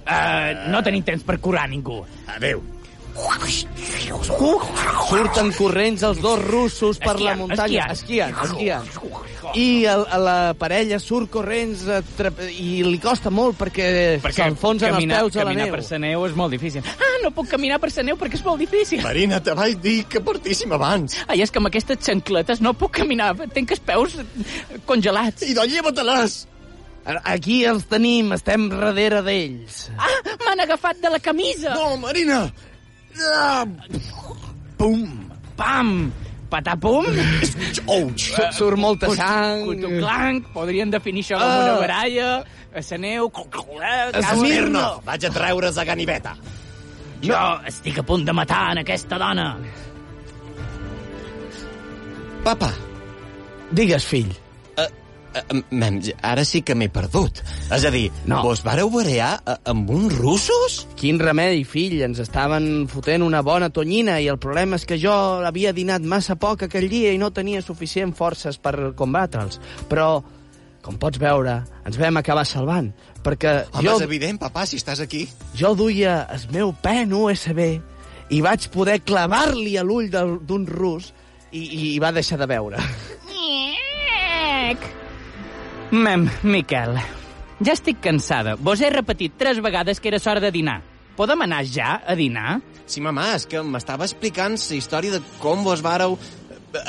E: Eh, no tenim temps per curar ningú.
C: Adeu.
D: Surten corrents els dos russos per la
E: Esquiant,
D: muntanya.
E: esquiant.
D: esquiant. I el, a la parella surt corrents a trap- i li costa molt perquè, perquè s'enfonsen els
B: caminar,
D: peus a la
B: caminar
D: neu.
B: per la neu és molt difícil.
E: Ah, no puc caminar per la neu perquè és molt difícil.
C: Marina, te vaig dir que partíssim abans.
E: Ai, és que amb aquestes xancletes no puc caminar. Tenc els peus congelats.
C: I doncs lleva-te-les!
D: Aquí els tenim, estem darrere d'ells.
E: Ah, m'han agafat de la camisa.
C: No, Marina! Ah,
B: Pum! Pam! Patapum!
C: Ouch!
E: Eh,
D: Surt molta sang. Ah.
B: Cutu clanc, podríem definir això com una baralla, a la neu...
E: Smirnoff,
C: vaig a treure's a Ganiveta.
E: Jo estic a punt de matar en aquesta dona.
C: Papa,
D: Digues, fill.
C: eh, mem, ara sí que m'he perdut. És a dir, no. vos vareu barear eh, amb uns russos?
D: Quin remei, fill, ens estaven fotent una bona tonyina i el problema és que jo havia dinat massa poc aquell dia i no tenia suficient forces per combatre'ls. Però, com pots veure, ens vam acabar salvant, perquè
K: Home,
D: jo...
K: és evident, papà, si estàs aquí.
D: Jo duia el meu pen USB i vaig poder clavar-li a l'ull del- d'un rus i, i va deixar de veure.
B: Ec. Mem, Miquel, ja estic cansada. Vos he repetit tres vegades que era hora de dinar. Podem anar ja a dinar?
C: Sí, mamà, és que m'estava explicant la història de com vos vareu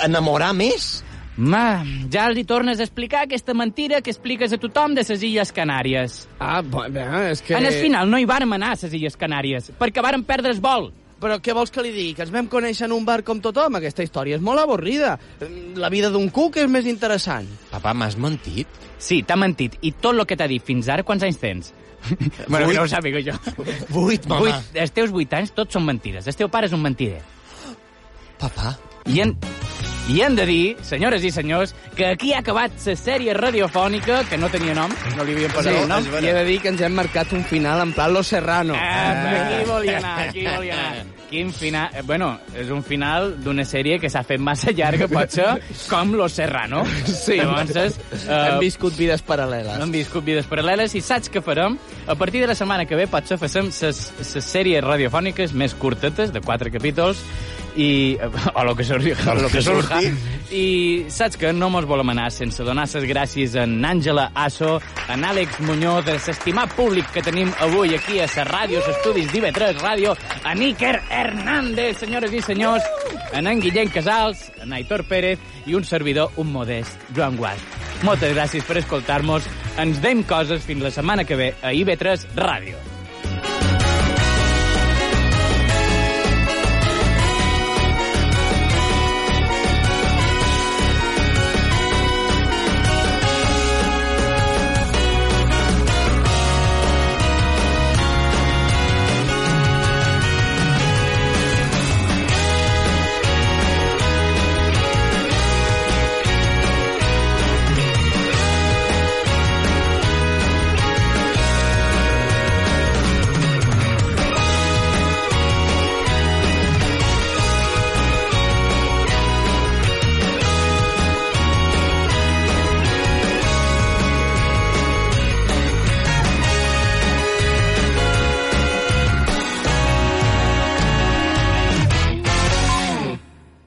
C: enamorar més.
B: Ma, ja els hi tornes a explicar aquesta mentira que expliques a tothom de les Illes Canàries.
D: Ah, bé, és
B: En el final no hi vàrem anar a les Illes Canàries, perquè vàrem perdre el vol.
D: Però què vols que li digui? Que ens vam conèixer en un bar com tothom? Aquesta història és molt avorrida. La vida d'un cuc és més interessant.
C: Papà, m'has mentit?
B: Sí, t'ha mentit. I tot el que t'ha dit fins ara, quants anys tens? bueno, que no ho sàpiga jo.
C: Vuit, mama.
B: Vuit, els teus vuit anys tots són mentides. El teu pare és un mentider.
C: Papà.
B: I en... I hem de dir, senyores i senyors, que aquí ha acabat la sèrie radiofònica, que no tenia nom, no li havien posat el nom.
D: I he de dir que ens hem marcat un final en plan Lo Serrano.
B: Ah,
D: Ah, Eh.
B: Aquí volia anar, aquí volia anar. Quin final... eh, Bueno, és un final d'una sèrie que s'ha fet massa llarga, potser, com Los Serrano.
D: Sí.
B: Llavors, és,
D: Hem viscut vides paral·leles.
B: Hem viscut vides paral·leles i saps què farem? A partir de la setmana que ve potser facem ses, ses sèries radiofòniques més curtetes, de quatre capítols, i... eh, o lo que surja.
M: O lo que surja.
B: I saps que no mos volem anar sense donar ses gràcies a en Àngela Asso, en Àlex Muñoz, a s'estimat públic que tenim avui aquí a la ràdio, als estudis d'IV3 Ràdio, a Níker Hernández, senyores i senyors, en en Guillem Casals, en Aitor Pérez i un servidor, un modest, Joan Guas. Moltes gràcies per escoltar-nos. Ens dem coses fins la setmana que ve a IB3 Ràdio.